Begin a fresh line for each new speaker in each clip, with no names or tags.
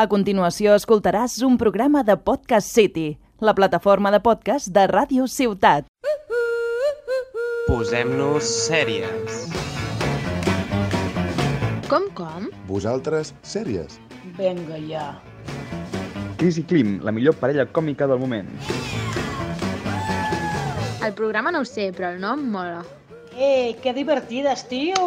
A continuació escoltaràs un programa de Podcast City, la plataforma de podcast de Ràdio Ciutat.
Posem-nos sèries.
Com, com?
Vosaltres, sèries.
Venga ja.
Cris i Klim, la millor parella còmica del moment.
El programa no ho sé, però el nom mola.
Ei, Eh, que divertides, tio!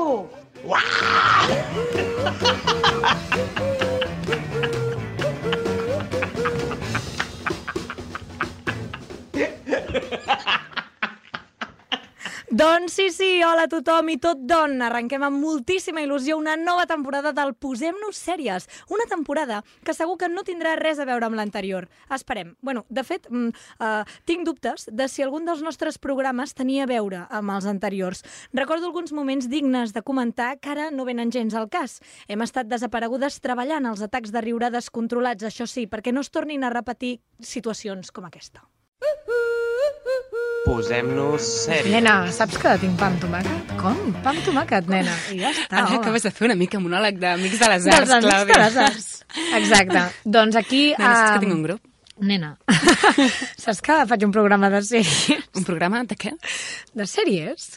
Doncs sí, sí, hola a tothom i tot don. Arrenquem amb moltíssima il·lusió una nova temporada del Posem-nos sèries. Una temporada que segur que no tindrà res a veure amb l'anterior. Esperem. Bueno, de fet, mm, uh, tinc dubtes de si algun dels nostres programes tenia a veure amb els anteriors. Recordo alguns moments dignes de comentar que ara no venen gens al cas. Hem estat desaparegudes treballant els atacs de riure descontrolats, això sí, perquè no es tornin a repetir situacions com aquesta.
Posem-nos sèries.
Nena, saps que tinc pa amb tomàquet? Com? Pa amb tomàquet, nena. Ah,
I ja està.
Ara
home.
acabes de fer una mica monòleg d'Amics de les Arts,
Dels Amics de
Clàudia.
les Arts.
Exacte. Doncs aquí...
Nena, saps
ah,
que tinc un
grup?
Nena.
Saps que faig un programa de sèries? Un programa de què?
De sèries?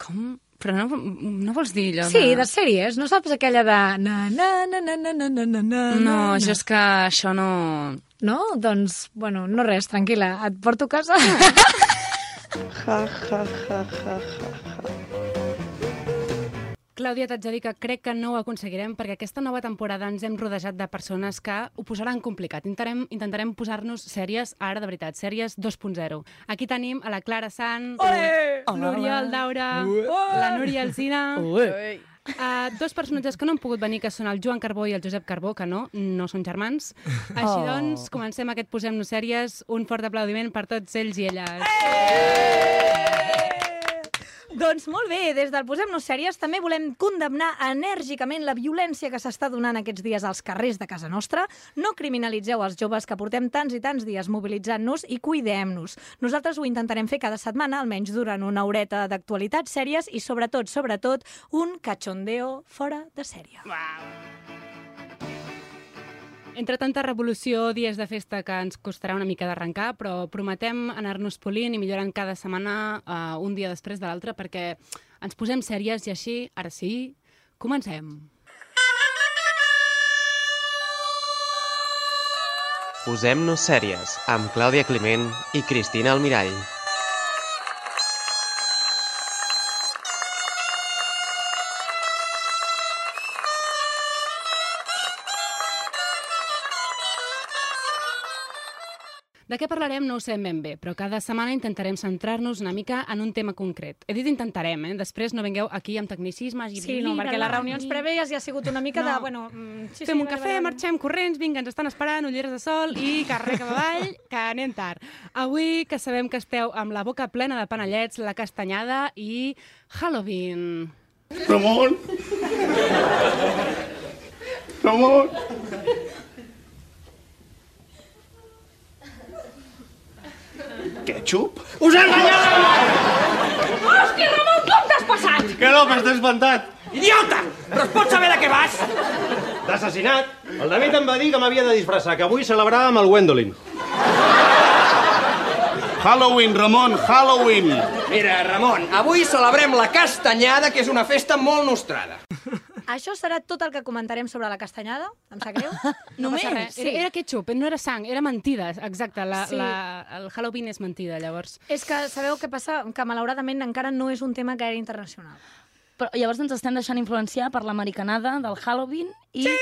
Com? Però no, no vols dir allò
Sí,
de...
de sèries. No saps aquella de... Na, na, na, na, na, na, na, na, na,
No,
na.
això és que això no...
No? Doncs, bueno, no res, tranquil·la. Et porto a casa.
Clàudia, t'haig de dir que crec que no ho aconseguirem perquè aquesta nova temporada ens hem rodejat de persones que ho posaran complicat. Intentarem, intentarem posar-nos sèries, ara de veritat, sèries 2.0. Aquí tenim a la Clara Sant, l'Oriol Daura, la Núria Alzina... Uh, dos personatges que no han pogut venir, que són el Joan Carbó i el Josep Carbó, que no, no són germans. Així
Oh.
doncs, comencem aquest Posem-nos sèries. Un fort aplaudiment per tots ells i elles.
Doncs molt bé, des del Posem-nos Sèries també volem condemnar enèrgicament la violència que s'està donant aquests dies als carrers de casa nostra. No criminalitzeu els joves que portem tants i tants dies mobilitzant-nos i cuidem-nos. Nosaltres ho intentarem fer cada setmana, almenys durant una horeta d'actualitats sèries i sobretot, sobretot, un cachondeo fora de sèrie.
Entre tanta revolució, dies de festa que ens costarà una mica d'arrencar, però prometem anar-nos polint i millorant cada setmana eh, un dia després de l'altre perquè ens posem sèries i així, ara sí, comencem.
Posem-nos sèries amb Clàudia Climent i Cristina Almirall.
De què parlarem no ho sé ben bé, però cada setmana intentarem centrar-nos una mica en un tema concret. He dit intentarem, eh? Després no vingueu aquí amb tecnicismes i
Sí,
no, perquè les reunions prèvies...
prèvies ja ha sigut una mica
No.
de... Bueno, mm, sí,
Fem
sí,
un
vale,
cafè,
vale, vale.
marxem corrents, vinga, ens estan esperant, ulleres de sol i carrer cap avall, que anem tard. Avui, que sabem que esteu amb la boca plena de panellets, la castanyada i Halloween.
Ramon! Ramon! Ketchup? Us he enganyat! Hòstia, Ramon, com t'has passat? Que no, m'has espantat.
Idiota! Però es pot saber de què vas?
D'assassinat. El David em va dir que m'havia de disfressar, que avui celebràvem el Gwendolyn. Halloween, Ramon, Halloween.
Mira, Ramon, avui celebrem la castanyada, que és una festa molt nostrada.
Això serà tot el que comentarem sobre la castanyada, em sap greu.
No passa res.
Sí.
Era, era ketchup, no era sang, era mentida, exacte. La,
Sí.
sí. la, el Halloween és mentida, llavors.
És que sabeu què passa? Que malauradament encara no és un tema gaire internacional.
Però llavors ens estem deixant influenciar per l'americanada del Halloween i... Sí!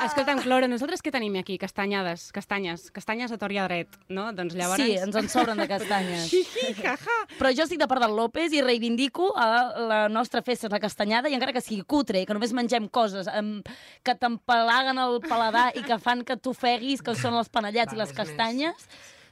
Escolta'm, Clora, nosaltres què tenim aquí? Castanyades, castanyes, castanyes a tor i a dret, no? Doncs llavors...
Sí, ens en sobren de castanyes.
Jaja.
Però jo estic de part del López i reivindico a la nostra festa de la castanyada i encara que sigui cutre i que només mengem coses em, que t'empalaguen el paladar i que fan que t'ofeguis, que són els panellets i les castanyes.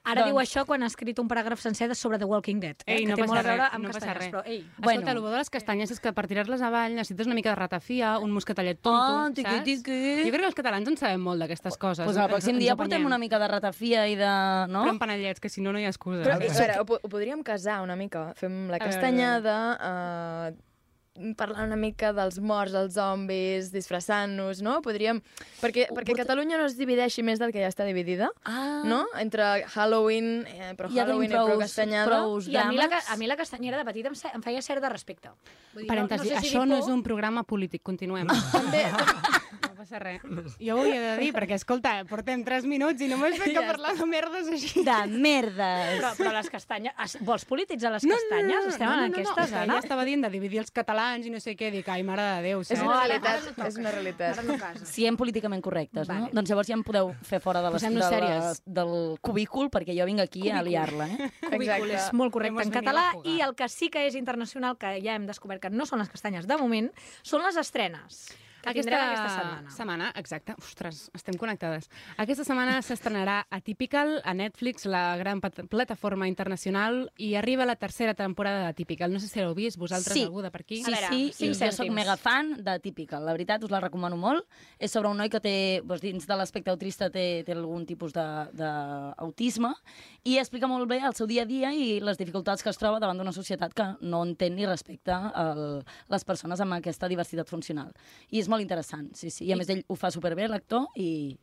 Ara
Doncs-
diu això quan ha escrit un paràgraf sencer de sobre The Walking Dead, eh?
Ei,
que
no
té molt
passa
a veure
res,
amb
no passa
castanyes,
res.
però ei.
Bueno.
Escolta, el bo de les castanyes és que per tirar-les avall necessites una mica de ratafia, un mosquetallet tonto,
Ah, tiqui,
saps?
tiqui.
Jo crec que els catalans en sabem molt d'aquestes coses. eh?
Doncs el pròxim dia portem una mica de ratafia i de... No?
Però amb panellets, que si no, no hi ha excusa.
Però, a veure, ho, po- ho podríem casar una mica. Fem la
veure, a
castanyada, eh,
parlant una mica dels morts, els zombis, disfressant-nos, no? Podríem... Perquè, perquè Catalunya no es divideixi més del que ja està dividida,
ah.
no? Entre Halloween, eh, però
Ja tenim
Halloween i pro
prous-
castanyada.
prous
I a mi, la, ca- a mi la castanyera de petita em, se- em feia cert de respecte. Vull dir,
Parèntesi,
sé si
això
dir
no
por.
és un programa polític, continuem. No passa res. Jo ho havia de dir, perquè, escolta, portem 3 minuts i només fem que parlar de merdes així.
De merdes.
Però, però les castanyes... es- Vols polítics a les castanyes? Estem en aquestes,
no, no,
Anna?
ja estava dient de dividir els catalans i no sé què, dic, ai, mare de Déu, saps?
una realitat,
Ara no
és una realitat.
Ara no casa.
Siguem políticament correctes, no? Doncs llavors ja em podeu fer fora de les, de
Posem-nos
les,
sèries.
del cubícul, perquè jo vinc aquí a
Cubícul.
liar-la, eh?
Cubícul és molt correcte en català i el que sí que és internacional, que ja hem descobert que no són les castanyes de moment, són les estrenes que aquesta... tindrem aquesta setmana.
setmana, exacte. Ostres, estem connectades. Aquesta setmana s'estrenarà Atypical a Netflix, la gran pat- plataforma internacional, i arriba la tercera temporada d'Atypical. No sé si l'heu vist vosaltres,
sí.
algú de per aquí.
Sí, sí, sí, jo sóc mega fan de Típica, la veritat, us la recomano molt. És sobre un noi que té, doncs, dins de l'aspecte autista té, té algun tipus d'autisme i explica molt bé el seu dia a dia i les dificultats que es troba davant d'una societat que no entén ni respecta el, les persones amb aquesta diversitat funcional. I és molt interessant, sí, sí. I a més ell ho fa superbé, l'actor, i,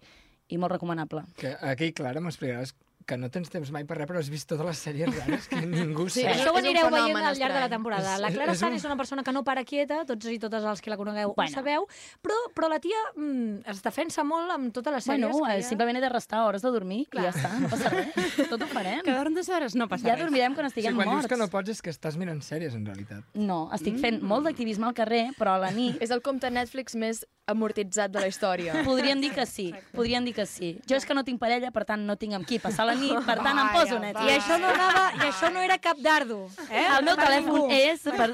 i molt recomanable.
Que aquí, Clara, m'explicaràs que no tens temps mai per res, però has vist totes les sèries rares que ningú
Sí,
sap.
això ho anireu veient al llarg de la temporada.
És-
La Clara
és
Sant
un-
és una persona que no para quieta, tots i totes els que la conegueu bueno. ho sabeu, però, però la tia mm, es defensa molt amb totes les sèries
Bueno,
que
eh, simplement he de restar hores de dormir Clar. i ja està, no passa res. Tot ho farem.
Quedar dues hores no passa
ja
res.
dormirem quan estiguem
sí, quan
morts.
dius que no pots és que estàs mirant sèries, en realitat.
No, estic fent mm. molt d'activisme al carrer, però a la nit...
És el compte Netflix més amortitzat de la història.
Podríem dir que sí, podríem dir que sí. Jo és que no tinc parella, per tant no tinc amb qui passar la nit, per tant em poso net.
I això no anava, i això no era cap dardo. Eh?
El meu
Per
telèfon
ningú.
és... Per...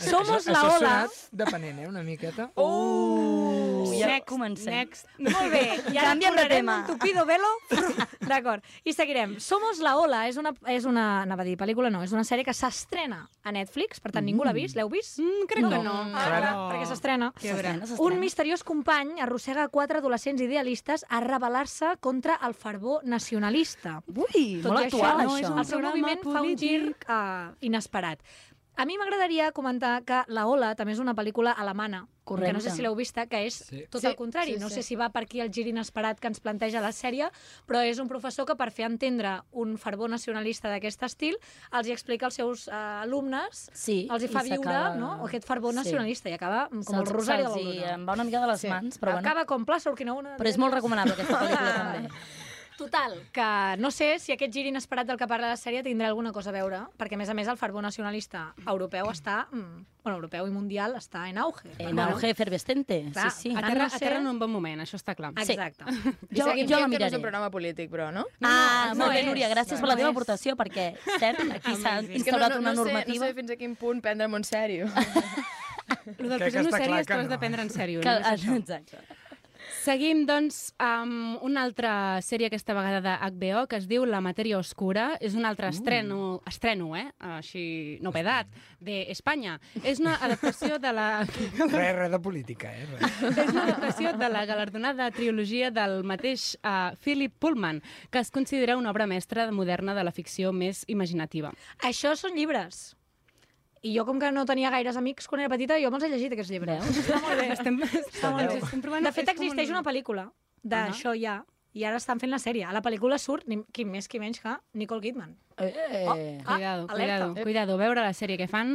Somos
això,
la
Això ha sonat
ola.
depenent, eh, una miqueta.
Uh,
ja
next, comencem. Next.
Molt bé, i ara
Canviem de
correrem
tema.
un tupido velo. D'acord, i seguirem. Somos la ola, és una, és una anava a dir, pel·lícula no, és una sèrie que s'estrena a Netflix, per tant, ningú l'ha vist, l'heu vist? Mm,
crec que no.
Ah,
Clara.
clar, perquè s'estrena.
S'estrena,
Un misteriós company arrossega quatre adolescents idealistes a rebel·lar-se contra el fervor nacionalista.
Ui,
Tot
molt
i
actual,
això,
això.
el seu moviment fa un gir uh, inesperat. A mi m'agradaria comentar que La Ola també és una pel·lícula alemana,
Correcte.
que no sé si l'heu vista, que és
Sí.
tot
Sí,
el contrari.
sí,
no
sí.
sé si va per aquí el gir inesperat que ens planteja la sèrie, però és un professor que per fer entendre un fervor nacionalista d'aquest estil els hi explica als seus eh, alumnes,
Sí,
els hi fa
i
viure
s'acaba-
no? aquest fervor
Sí.
nacionalista i acaba com el
Se'ls-
rosari de
se'ls
la
hi
Luna.
em va una mica de les mans, però bueno.
Acaba com pla, sorquina una...
Però és molt recomanable aquesta pel·lícula, també.
Total, que no sé si aquest gir inesperat del que parla la sèrie tindrà alguna cosa a veure, perquè a més a més el fervor nacionalista europeu està... Mm, bueno, europeu i mundial està en auge.
En auge efervescente,
Clar,
sí, sí.
a terra- a terra Ah, no
un bon moment, això està clar.
Exacte.
I
Jo,
seguim
jo la
dient que no és
miraré.
un programa polític, però, no?
Ah,
No,
molt
no
bé,
és.
Núria, gràcies per la
No
teva
és.
aportació, perquè cert, aquí s'ha
És que no,
instaurat
no,
una
no Sé, no
normativa.
sé fins a quin punt prendre-m'ho en sèrio.
Lo del present sèrie és que has de prendre en sèrio.
Que-
només això.
Exacte.
Seguim, doncs, amb una altra sèrie aquesta vegada de HBO que es diu La matèria oscura. És un altre estreno, estreno eh? Així, novedat, d'Espanya. És una adaptació de la...
Res, res de política, eh? Res.
és una adaptació de la galardonada trilogia del mateix uh, Philip Pullman, que es considera una obra mestra moderna de la ficció més imaginativa.
Això són llibres. I jo, com que no tenia gaires amics quan era petita, jo me'ls he llegit, aquests llibres. Està molt bé.
Estem,
està molt bé.
estem
de fet, existeix una pel·lícula d'això ja, i ara estan fent la sèrie. A la pel·lícula surt, ni, qui més qui menys que Nicole Kidman.
Eh,
Oh, cuidado,
ah, alerta.
cuidado, cuidado. Veure la sèrie que fan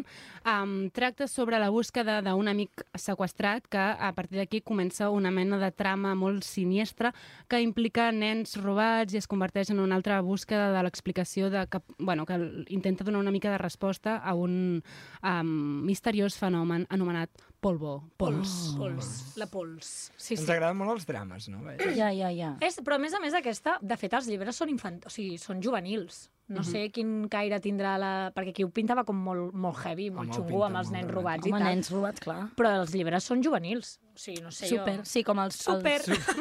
um, tracta sobre la búsqueda d'un amic seqüestrat que a partir d'aquí comença una mena de trama molt siniestra que implica nens robats i es converteix en una altra búsqueda de l'explicació de que, bueno, que l- intenta donar una mica de resposta a un um, misteriós fenomen anomenat polvo, pols.
Pols. La pols. Sí,
Ens
sí.
agraden molt els drames, no?
Ja, ja, ja.
És, però a més a més aquesta, de fet els llibres són infant... o sigui, són juvenils. No
Mhm.
sé quin caire tindrà la... Perquè qui ho pintava com molt, molt heavy,
Home,
molt
ho
xungo,
pinta
amb els
molt
nens
grandet.
robats
Home,
i tal.
nens robats, clar.
Però els llibres són juvenils. O sigui, no sé
Super,
jo...
sí, com els...
Super.
Els,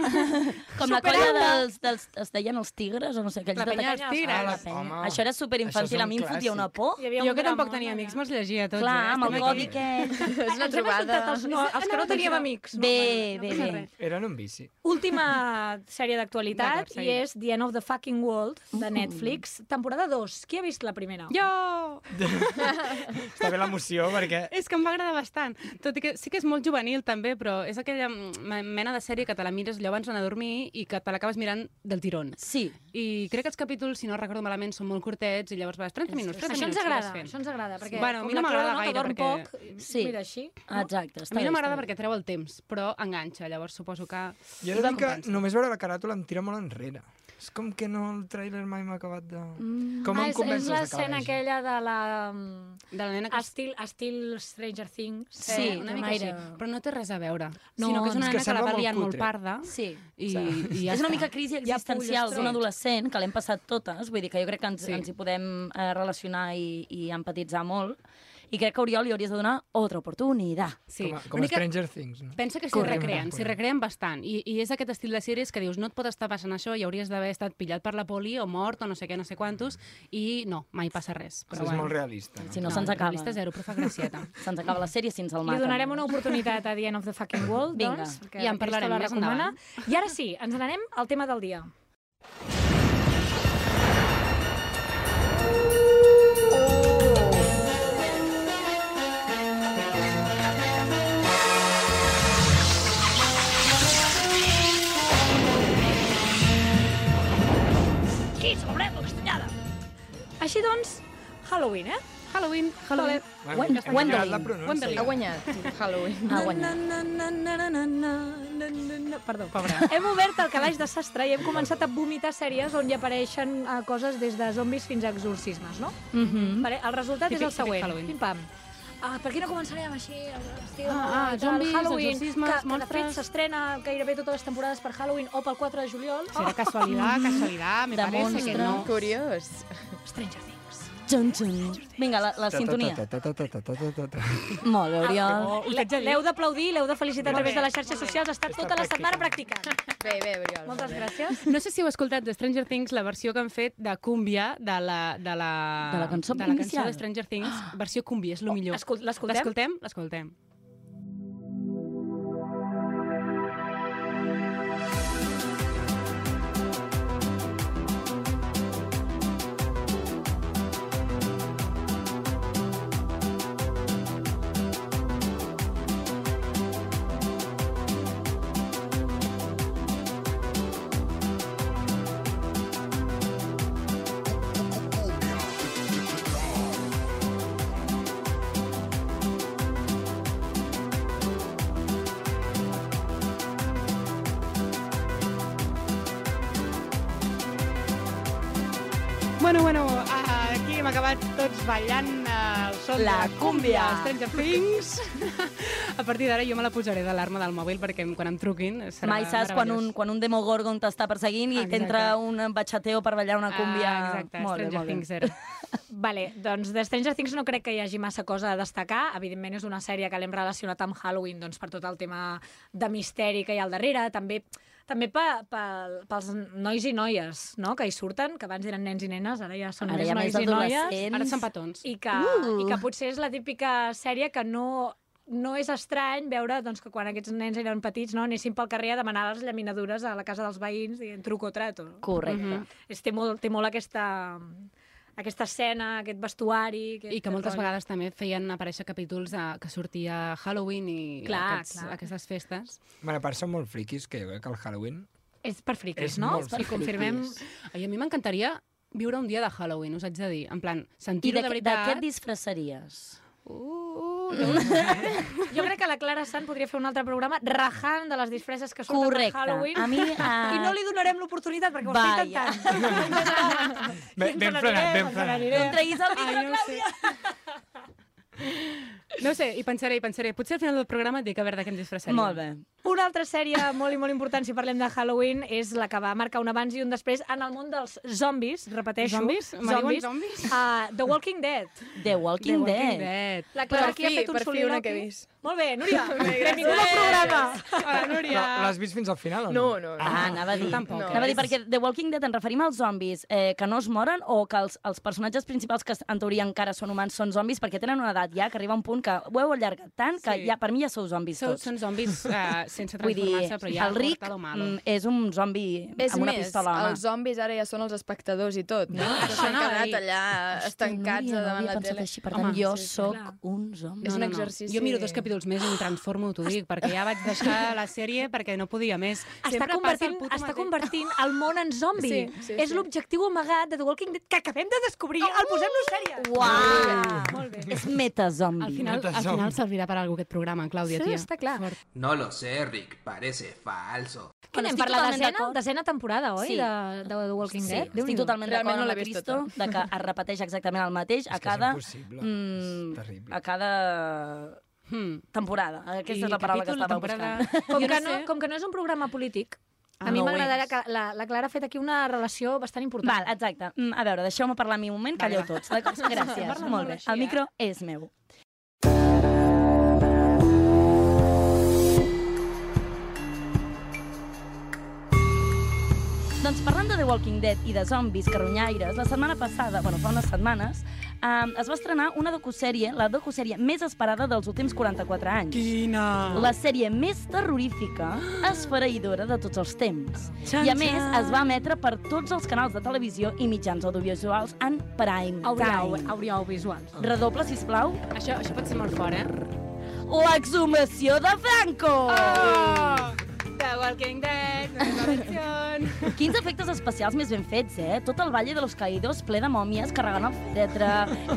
com la colla
Superanda.
dels, dels... Es deien els tigres o no sé què.
La penya dels tigres.
Ah, la
Home,
penya. Això era superinfantil.
això és un
A mi em fotia una por.
Jo que tampoc
eh?
tenia amics, me'ls llegia tots.
Clar,
eh?
amb el
Estem
codi
aquí.
aquest.
És una trobada.
amics.
Bé, bé, bé.
Eren un bici.
Última sèrie d'actualitat
D'acord,
i
seguim.
és The End of the Fucking World de Netflix, temporada temporada 2. Qui ha vist la primera?
Jo!
Està bé l'emoció, perquè...
És que em va agradar bastant. Tot i que sí que és molt juvenil, també, però és aquella mm, mena de sèrie que te la mires allò abans d'anar a dormir i que te l'acabes mirant del tirón.
Sí.
I crec que els capítols, si no recordo malament, són molt curtets i llavors vas 30 minuts, 30
Això ens
minuts.
agrada, això ens agrada, perquè
bueno, a mi
com
no
la
m'agrada
Clara no, que
gaire,
dorm
perquè...
poc, Sí. mira així, no?
Exacte,
a mi no m'agrada perquè treu el temps, però enganxa, llavors suposo que...
Jo he de dir que només veure la caràtula em tira molt enrere. És com que no, el tràiler mai m'ha acabat de... Mm. Com
ah,
em
és, és
convences de
l'escena
que
aquella de la...
De la nena que...
Estil, estil Stranger Things. Eh,
Sí, una mica així. Però no té res a veure. No, sinó que és
no,
una
és que
nena que la
sembla
va
molt
liant molt
cutre.
parda.
Sí.
I, i ja
és una
està.
mica crisi
Hi ha
existencial
fulles,
d'un
sí.
adolescent que l'hem passat totes, vull dir que jo crec que ens,
Sí.
sí. ens hi podem eh, relacionar i, i empatitzar molt, i crec que Oriol li hauries de donar otra oportunitat.
Sí.
Com, a- com a Stranger Things, no?
Pensa que s'hi
Correcte.
recreen, s'hi recreen bastant. I, I és aquest estil de sèries que dius, no et pot estar passant això i hauries d'haver estat pillat per la poli o mort o no sé què, no sé quantos, i no, mai passa res.
Però és molt realista.
Si no, se'ns acaba.
Realista zero, però fa gracieta.
Se'ns acaba la sèrie si ens el
Li
maten.
donarem una oportunitat a The End of the Fucking World,
Vinga.
doncs,
I en parlarem més endavant.
I ara sí, ens n'anem al tema del dia.
Aquí celebrem la castanyada.
Així doncs, Halloween, eh?
Halloween, Halloween.
Halloween.
Wen- Ha millorat la pronúncia.
Wendling.
Ha
guanyat Halloween.
Ha guanyat. Na, na, na, na, na, na, na, na, na. Perdó. Hem obert el calaix de sastre i hem començat a vomitar sèries on hi apareixen eh, coses des de zombis fins a exorcismes, no?
Mhm.
Vale, el resultat
Mm-hmm. Típic,
és el següent.
típic Halloween.
Pim-pam. Ah, per què no començarem així? Estiu,
Ah, ah, zombis,
Halloween,
exorcismes,
que, que de fet
monstres.
s'estrena gairebé totes les temporades per Halloween o pel 4 de juliol. Oh,
Serà casualidad, casualidad, me parece que no.
Curiós.
Stranger Things.
Jun, jun. Vinga, la, la sintonia. Molt bé,
Oh,
Oriol.
L'heu d'aplaudir, l'heu de felicitar a
Molt
través
bé,
de les xarxes socials. Ha estat tota la setmana practicant.
Bé, bé, Oriol.
Moltes
molt bé.
gràcies.
No sé si heu escoltat de Stranger Things la versió que han fet de Cúmbia, de la, de la,
De la cançó
de, la cançó
inicial. Ah. Oh,
de Stranger Things, versió Cúmbia, és el millor.
Escol- l'escoltem?
L'escoltem? L'escoltem. Bueno, bueno, ah, aquí hem acabat tots ballant eh, el son
La
de
cúmbia.
Stranger Things. A partir d'ara jo me la posaré d'alarma del mòbil perquè em- quan em truquin serà
Mai saps quan un, quan un demogorgon t'està perseguint
Ah,
i t'entra un batxateo per ballar una cúmbia.
Ah, exacte,
molt bé,
Stranger
molt bé.
Things era.
Vale, doncs de Stranger Things no crec que hi hagi massa cosa a destacar. Evidentment és una sèrie que l'hem relacionat amb Halloween doncs, per tot el tema de misteri que hi ha al darrere. També també pe, pe, pels nois i noies no? que hi surten, que abans eren nens i nenes, ara ja són
Ara
més
hi ha
nois
més
i noies.
adolescents. Ara són
petons.
I que,
Uh.
I que potser és la típica sèrie que no no és estrany veure doncs, que quan aquests nens eren petits no, anessin pel carrer a demanar les llaminadures a la casa dels veïns dient truco o trato. no?
Correcte.
Mhm. És, té, molt, té molt aquesta, aquesta escena, aquest vestuari... Aquest
I que moltes
rotllo.
vegades també feien aparèixer capítols de, que sortia Halloween i
Clar,
aquests,
clar.
aquestes festes.
Bueno, a part són molt friquis, que jo crec que el Halloween...
És per friquis,
És
no?
molt
És per
friquis.
confirmem...
Ai, a mi m'encantaria viure un dia de Halloween, us haig de dir. En plan,
I
sentir-ho
de,
de,
què- de
veritat. Uh,
què et disfressaries?
Jo crec que la Clara Sant podria fer un altre programa rajant de les disfresses que surten
Correcte.
per Halloween.
A mi, eh,
I no li donarem l'oportunitat, perquè ho
Vaya.
estic intentant.
Ben, ben frenat, ben frenat.
No em treguis el micro, Clàudia!
No ho sé, i pensaré, i pensaré. Potser al final del programa et dic a veure de què em disfressaria.
Molt bé.
Una altra sèrie molt i molt important, si parlem de Halloween, és la que va marcar un abans i un després en el món dels zombis, repeteixo.
Zombis? Me diuen zombis?
Uh, The Walking Dead.
The Walking,
The Walking
Dead.
Dead.
La Clara
Per
aquí ha
fi,
fet un
per fi una que he
soliloqui.
vist.
Molt bé, Núria. Benvinguda al
gràcies.
programa.
Hola,
Però
Núria.
l'has vist fins al final o no?
No, no, no.
Ah, anava a dir,
Ah, tampoc, eh?
anava a dir perquè The Walking Dead ens referim als zombis eh, que no es moren o que els, els personatges principals que en teoria encara són humans són zombis perquè tenen una edat ja que arriba un punt que ho heu allargat tant que
Sí.
ja, per mi ja sou zombis
Són,
tots.
són zombis, uh, sense
Vull dir,
transformar-se, però ja
el ric
porta lo malo.
mm, és un zombi
És
amb una
més,
pistola a la mà.
els zombis ara ja són els espectadors i tot, no? Que S'han
no,
quedat
i-
allà estancats
no
davant
havia
la
pensat
tele.
així, per tant, jo sóc un zombi.
És un exercici-
Jo miro dos capítols més i em transformo, t'ho dic, perquè ja vaig deixar la sèrie perquè no podia més.
Està convertint, està convertint el món en zombi.
Sí, sí,
és
sí. Oh!
l'objectiu amagat de The Walking Dead que acabem de descobrir. El posem-nos sèrie.
Uau! És meta-zombi.
Al final, al final servirà per alguna aquest programa, Clàudia,
Sí,
tia.
està clar.
No lo sé, Rick. Parece falso.
Què anem per la desena, desena temporada, oi?
Sí.
De, de, The Walking
Sí,
Dead?
estic
Déu-n'hi-do.
totalment d'acord amb la Cristo de que es repeteix exactament el mateix a cada... mm, a cada eh, hmm, temporada. Aquesta és la paraula que estava buscant.
Com
Jo
que, no,
sé.
com que no és un programa polític, a
Ah,
mi
no ho
m'agradaria
és.
que la, la Clara ha fet aquí una relació bastant important.
Val, exacte. Mm, A veure, deixeu-me parlar a mi un moment, calleu tots. D'acord? Gràcies.
Parla
Molt
molt
bé.
així,
El micro és meu. Doncs parlant de The Walking Dead i de zombis carronyaires, la setmana passada, bueno, fa unes setmanes, eh, es va estrenar una docusèrie, la docusèrie més esperada dels últims 44 anys.
Quina!
La sèrie més terrorífica, esfereïdora de tots els temps.
Xan,
I a més,
xan.
es va emetre per tots els canals de televisió i mitjans audiovisuals en prime
Audio-
time.
Audiovisuals.
Redoble, sisplau.
Això, això pot ser molt fort, eh?
L'exhumació de Franco!
Oh! The Walking Dead, Resurrection...
Quins efectes especials més ben fets, eh? Tot el Valle de los Caídos ple de mòmies carregant el fetre,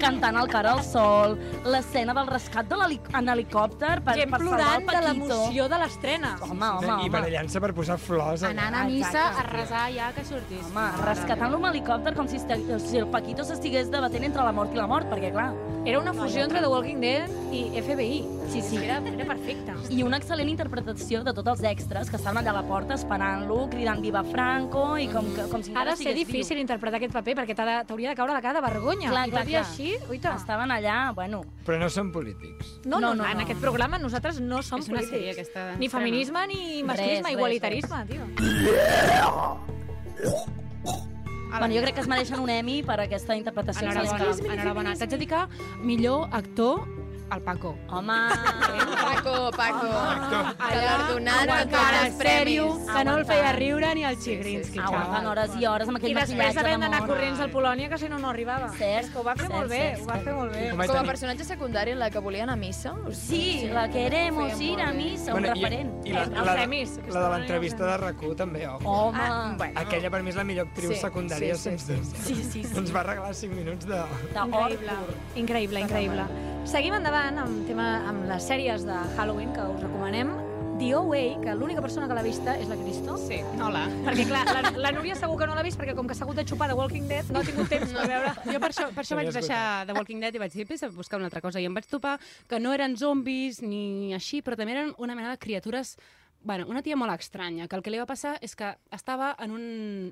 cantant el cara al sol, l'escena del rescat de l'heli- en helicòpter per,
Gent
per salvar el
plorant de
Paquito.
l'emoció de l'estrena.
Home, home,
I
home.
barallant-se per posar flors. allà.
Anant a missa a resar ja que sortís.
Home, rescatant-lo amb helicòpter com si, este- si el Paquito s'estigués debatent entre la mort i la mort, perquè clar...
Era una fusió entre The Walking Dead i FBI.
Sí, sí.
Era, era perfecte.
I una excel·lent interpretació de tots els extras que estaven allà a la porta esperant-lo, cridant Viva Franco i com, que, com si
Ha
encara
de ser
estigués
difícil interpretar aquest paper perquè t'ha de- t'hauria de caure la cara de vergonya.
Clar,
I
clar,
tot i
clar.
així, oita.
Estaven allà, bueno...
Però no són polítics.
No, no, no,
no,
en
no.
aquest programa nosaltres no som
És una
polítics.
sèrie aquesta
Ni
estrena.
feminisme, ni
Res,
masclisme,
res,
igualitarisme, tio.
Bueno, jo crec que es mereixen un Emmy per aquesta interpretació.
Enhorabona,
excel·lent.
enhorabona. T'haig de dir que millor actor, el Paco.
Home,
Paco, Paco.
Allà,
Galardonat amb
aguantant
els premis.
que no el feia riure ni el Chigrinsky. Sí,
aguantant hores i hores amb
I
aquell
després
maquillatge de
havent d'anar
mort.
corrents al Polònia, que si no, no arribava.
Cert,
És que ho va fer
cert,
molt bé,
cert,
ho va fer molt bé.
Com vaig
Com a
tenir-
personatge secundari, la que volia anar a missa?
Sí, la queremos ir a missa, un referent.
I,
eh?
i la, la,
Els
la,
Emmys, que
la de
estaven
l'entrevista de RAC1 també, ojo.
Home.
Ah, bueno.
Aquella per mi és la millor actriu
Sí,
secundària,
sí, sí,
sens dubte.
Sí, sí, sí.
Ens va arreglar 5 minuts de...
Increïble, increïble, increïble. Seguim endavant amb, tema, amb les sèries de Halloween que us recomanem. The O.A., que l'única persona que l'ha vista és la Cristo.
Sí, hola.
Perquè, clar, la, la Núria segur que no l'ha vist perquè com que s'ha hagut de xupar de Walking Dead no ha tingut temps per veure.
Jo per això, per això vaig
T'havies
deixar The Walking Dead i vaig dir, vés a buscar una altra cosa. I em vaig topar que no eren zombis ni així, però també eren una mena de criatures Bueno, una tia molt estranya, que el que li va passar és que estava en un,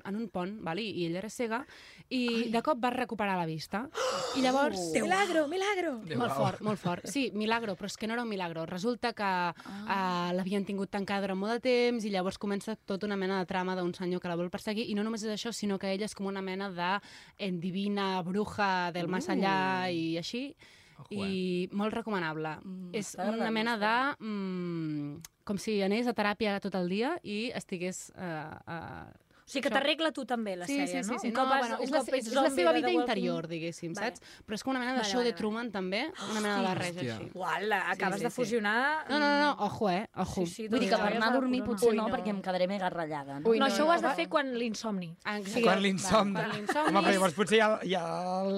en un pont, vale? i ella era cega, i Ai. de cop va recuperar la vista. I llavors...
Déu.
Milagro, milagro!
Molt fort, molt fort. Sí, milagro, però és que no era un milagro. Resulta que ah. uh, l'havien tingut tancada durant molt de temps i llavors comença tota una mena de trama d'un senyor que la vol perseguir i no només és això, sinó que ella és com una mena de eh, divina bruja del
Uh.
més enllà i així.
eh.
I molt recomanable.
Mm,
és
m'agrada,
una mena de... Mm, com si anés a teràpia tot el dia i estigués... Eh, eh,
O sigui que t'arregla tu també la
sí,
sèrie,
sí, sí,
no?
sí.
Un cop has-
bueno,
un
és, la,
cop
se-
ets
és la
zombi
seva
de
vida
The Walking-
interior, diguéssim,
Vale.
saps? Però és com una mena de
Vale,
show
vale,
de Truman, també, una mena de barreja
Hòstia.
així.
Uala, acabes
sí,
de
sí.
fusionar...
No, no, no, no, ojo, eh, ojo.
Sí, doncs sí,
Vull dir que per anar a dormir potser
Ui,
no,
no.
perquè em quedaré mega ratllada. No?
Ui,
No,
no,
això
no,
ho has de
va.
fer quan l'insomni.
Exacte.
Quan l'insomni.
Quan l'insomni.
Home, però llavors potser ja, ja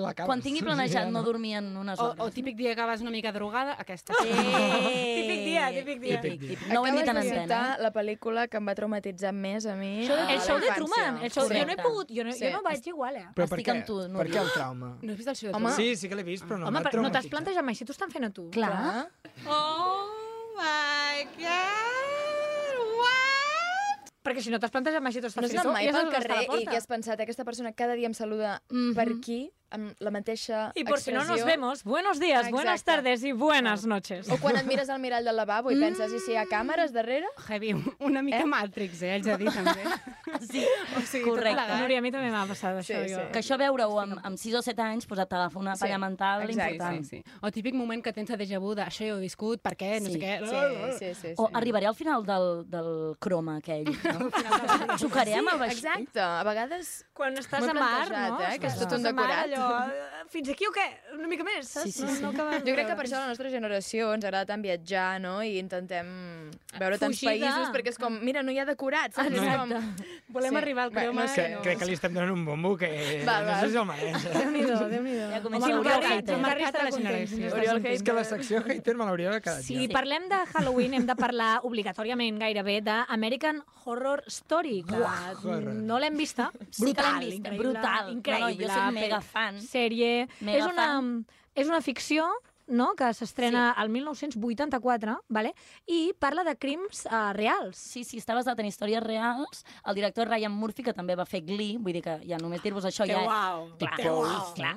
l'acabes.
Quan tingui planejat no dormir en
Oh,
unes
O,
hores.
o típic dia que vas una mica drogada, aquesta.
Sí.
Eh,
Eh,
Típic dia, típic dia.
Típic, típic. No ho hem dit en
Acabes de
antena.
citar la pel·lícula que em va traumatitzar més a mi.
eh? Això,
a
el
la
show de
infància.
Truman. El show, jo no he
Correcte.
pogut, jo no, jo
Sí.
no vaig igual, eh?
Però per
Estic
què?
amb tu, Núria.
Per què el trauma?
No has vist el show de
Home.
Truman?
Sí, sí que l'he vist, però no
Home,
m'ha
però no t'has
traumatitzat.
plantejat mai si t'ho estan fent a tu.
Clar.
Oh my God! What?
Perquè si no t'has plantejat mai si t'ho estan
No has
fent a
anat
tu,
mai
ja
pel
saps on està
carrer
la
i que
porta.
has pensat aquesta persona cada dia em saluda per aquí? amb la mateixa
Y por si no nos
expressió.
vemos, buenos días, buenas
Exacte.
tardes y buenas noches.
O quan et mires al mirall del lavabo i penses, i si hi ha càmeres darrere?
Heavy, una mica eh? Matrix, eh, haig de dir, també.
sí,
o sigui,
tot
correcte.
plegat.
Núria, a mi també m'ha passat això.
sí.
jo.
Que això veure-ho amb, amb 6 o 7 anys, pues, t'agafa una
Sí,
palla mental
exacte.
important.
Sí, sí. O típic moment que tens de déjà vu de això ja ho he viscut, per què, no
Sí.
sé què...
Sí,
sí, sí,
O arribaré al final del, del croma aquell, no? Xocaré amb el
eh?
vaixell.
Exacte, a vegades...
Quan estàs
M'ho he
a mar,
plantejat,
no?
eh, que és
Estàs
tot un
a mar,
decorat.
allò, eh, fins aquí o què? Una mica més, saps?
Sí, sí,
No-
sí.
no acabem
jo crec
de
que per això a la nostra generació ens agrada tant viatjar, no? I intentem veure tants
Fugir de-
països, perquè és com, mira, no hi ha decorat, saps? És
Exacte.
Com...
Volem arribar al
Bé,
croma
sé,
Que, crec que li estem donant un bombo que
Val,
no
val.
sé si el mereix. eh?
Déu-n'hi-do, Déu-n'hi-do.
Ja comença
Home,
el
Oriol
mercat,
Hater.
el mercat
Mercat
de la
està
generació.
content, està
Oriol,
content.
és que la secció hater me l'hauria de quedar.
Si parlem de Halloween, hem de parlar obligatòriament gairebé d'American Horror Story, que
Buah,
horror.
no l'hem vista.
Sí que l'hem vista,
increïble,
brutal.
Increïble.
No, no, jo soc mega
pe-
fan.
Sèrie.
Mega
és, una, és una ficció no? que s'estrena al 1984, vale? i parla de crims uh, reals.
Sí, sí, està basat en històries reals. El director Ryan Murphy, que també va fer Glee, vull dir que ja només dir-vos això
Que
ja...
uau,
clar,
que uau.
clar.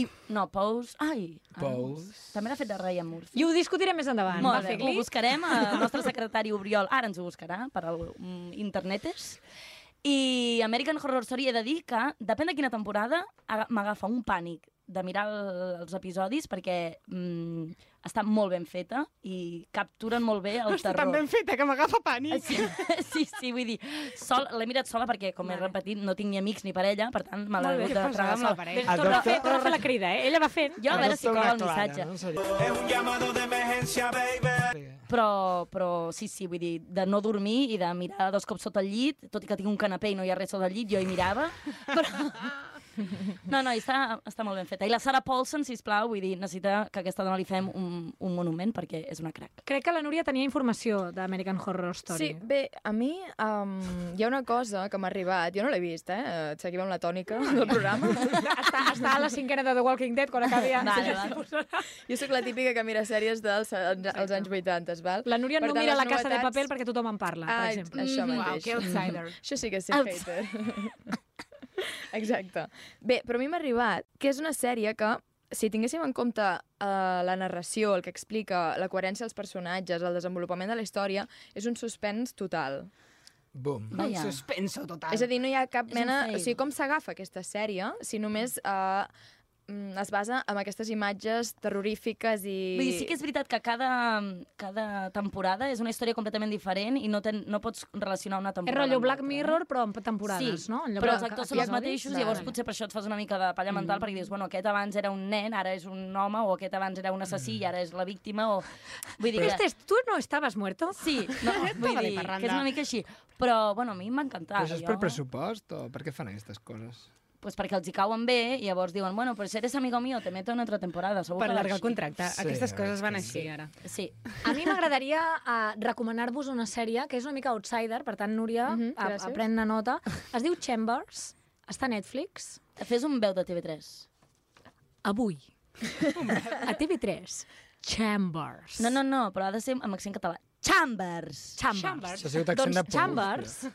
I, no, Pous... Ai, ah, no.
Pous.
també l'ha fet de Ryan Murphy.
I ho discutirem més endavant.
Molt
va
bé,
fer
ho
clic.
buscarem, el nostre secretari Oriol ara ens ho buscarà per al mm, internetes. I American Horror Story he de dir que, depèn de quina temporada, aga- m'agafa un pànic de mirar el- els episodis perquè mm, està molt ben feta i capturen molt bé el
Està
terror.
tan ben feta que m'agafa pànic.
Sí, sí, sí, vull dir, sol, l'he mirat sola perquè, com he repetit, no tinc ni amics ni parella, per tant, me l'he
Molt bé,
hagut
què
de
pesada
tragar
amb la
sola.
parella. Doncs torna a fer- torna a fer la crida, eh? Ella va fent.
Jo a veure si cola el missatge.
Es
un llamado de emergencia, baby.
Però, però sí, sí, vull dir, de no dormir i de mirar dos cops sota el llit, tot i que tinc un canapé i no hi ha res sota el llit, jo hi mirava. Però... No, no, i està, està molt ben feta. I la Sara Paulson, sisplau, vull dir, necessita que a aquesta dona li fem un, un monument perquè és una crac.
Crec que la Núria tenia informació d'American Horror Story.
Sí, bé, a mi um, hi ha una cosa que m'ha arribat, jo no l'he vist, eh? Et seguim amb la tònica del programa.
està, està a la cinquena de The Walking Dead, quan acabi... ja-
Vale, vale. Jo sóc la típica que mira sèries dels als anys 80, val?
La Núria
Per
no
tant,
mira
les
La Casa de
novetats-
Papel perquè tothom en parla, per
Ah,
exemple.
Això
Mhm.
mateix. Això sí que és ser
Outs-
hater. Exacte. Bé, però a mi m'ha arribat que és una sèrie que, si tinguéssim en compte eh, la narració, el que explica, la coherència dels personatges, el desenvolupament de la història, és un suspens total.
Boom.
Vaja.
Un suspenso total.
És a dir, no hi ha cap
És un
mena...
fail.
O sigui, com s'agafa aquesta sèrie si només eh, mm, es basa en aquestes imatges terrorífiques i...
Vull dir, sí que és veritat que cada, cada temporada és una història completament diferent i no, ten, no pots relacionar una
És
temporada
rotllo
amb l'altra. eh?
Black Mirror, però amb temporades,
sí,
no? En lloc
però
de- Mhm.
els actors són
episodis.
els mateixos,
Vale.
llavors potser per això et fas una mica de palla mental, perquè dius, bueno, aquest abans era un nen, ara és un home, o aquest abans era un assassí i ara és la víctima, o... Vull dir
Este
que...
és, tu no estaves muerto?
Sí, no, vull dir que és una mica així. Però, bueno, a mi m'ha encantat.
Però això és per
jo-
pressupost o per què fan aquestes coses?
Pues perquè els hi cauen bé i llavors diuen, bueno, pues eres amigo mío, te meto en otra temporada. Segur que
Per
va
allargar el
així.
contracte. Sí, Aquestes a veure, coses van sí. així,
ara. Sí.
A mi m'agradaria eh, recomanar-vos una sèrie que és una mica outsider, per tant, Núria, mm
Mhm,
-hmm,
gràcies.
pren-ne nota. Es diu Chambers, està a Netflix.
Fes un veu de TV3.
Avui. a TV3. Chambers.
No, no, no, però ha de ser amb accent català. Chambers.
Això
Chambers.
ha sigut accent
doncs,
de Pou,
Chambers...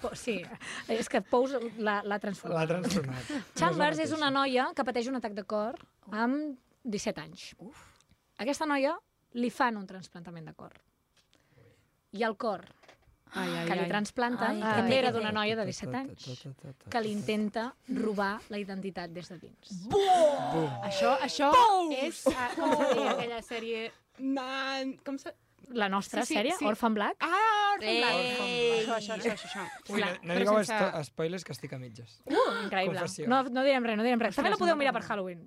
Po- Sí, és que Pous la- l'ha transformat.
L'ha transformat.
Chambers és una noia que pateix un atac de cor amb 17 anys. Uf. Aquesta noia li fan un transplantament de cor. I el cor ai, ai, que li
ai.
transplanten,
Ai,
ai, també
ai,
era
ai.
d'una noia de 17 anys, que li intenta robar la identitat des de dins.
Això, això
Pous!
és, ah, com se deia aquella sèrie... Man, com se...
La nostra sèrie, Orphan Black.
Ah, Orphan
Ei.
Black. Orphan Black. Això, això, això, això, això.
Ui, no, no
Però
digueu
sense-
sense... spoilers que estic a mitges.
Uh, increïble.
Confessió.
No, no direm res, no direm res. També la podeu mirar per Halloween.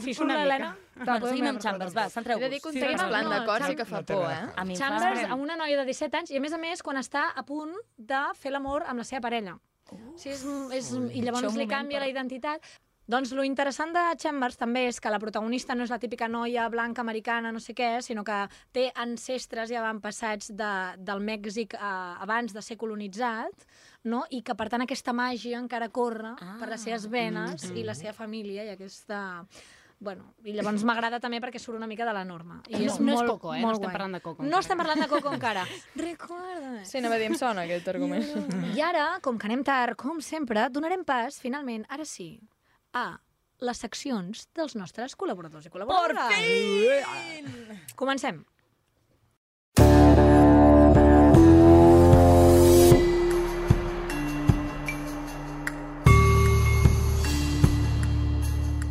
Si surt
una mica.
l'Helena...
Bueno, seguim amb Chambers, va, centreu-vos. He de dir que un transplant de cor sí que fa No té por, res. eh? A mi em fa-
Chambers, amb una noia de 17 anys, i a més a més, quan està a punt de fer l'amor amb la seva parella. Sí, és, és, I
Això
llavors
un
li
moment,
canvia
però.
la identitat. Doncs lo interessant de Chambers també és que la protagonista no és la típica noia blanca americana, no sé què, sinó que té ancestres i avantpassats de, del Mèxic eh, abans de ser colonitzat, no? i que per tant aquesta màgia encara corre ah, per les seves venes mm, i la seva família i aquesta... Bueno, i llavors m'agrada també perquè surt una mica de la norma. I
No,
és
no és
molt,
Coco, eh? No
Molt
estem
guai.
parlant de Coco
No
encara.
estem parlant de Coco encara. Recuerda.
Sí, anava a dir, em sona aquest argument.
I ara, com que anem tard, com sempre, donarem pas, finalment, ara sí, a les seccions dels nostres col·laboradors i col·laboradores. Por fin! Comencem.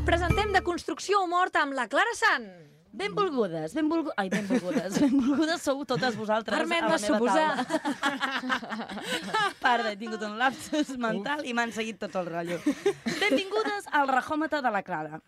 Presentem de construcció o mort amb la Clara Sant.
Benvolgudes, benvolgudes... Ai, benvolgudes. benvolgudes sou totes vosaltres
Permet-me
a la meva
suposar.
taula. Perdó, he tingut un lapsus mental i m'han seguit tot el rotllo. Benvingudes al rajòmetre de la Clara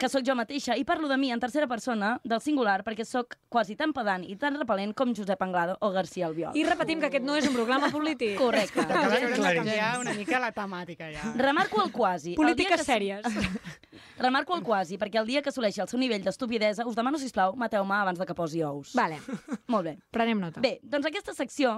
que sóc jo mateixa i parlo de mi en tercera persona del singular perquè sóc quasi tan pedant i tan repel·lent com Josep Anglada o García Albiol.
I repetim que aquest no és un programa polític.
Correcte.
Haurem de canviar una mica la temàtica, ja.
Remarco el quasi.
Polítiques
el dia que... sèries. Remarco el quasi, perquè el dia que assoleixi el seu nivell d'estupidesa, us demano, sisplau, mateu-me abans de que posi ous.
Vale.
Molt bé.
Prenem nota.
Bé, doncs aquesta secció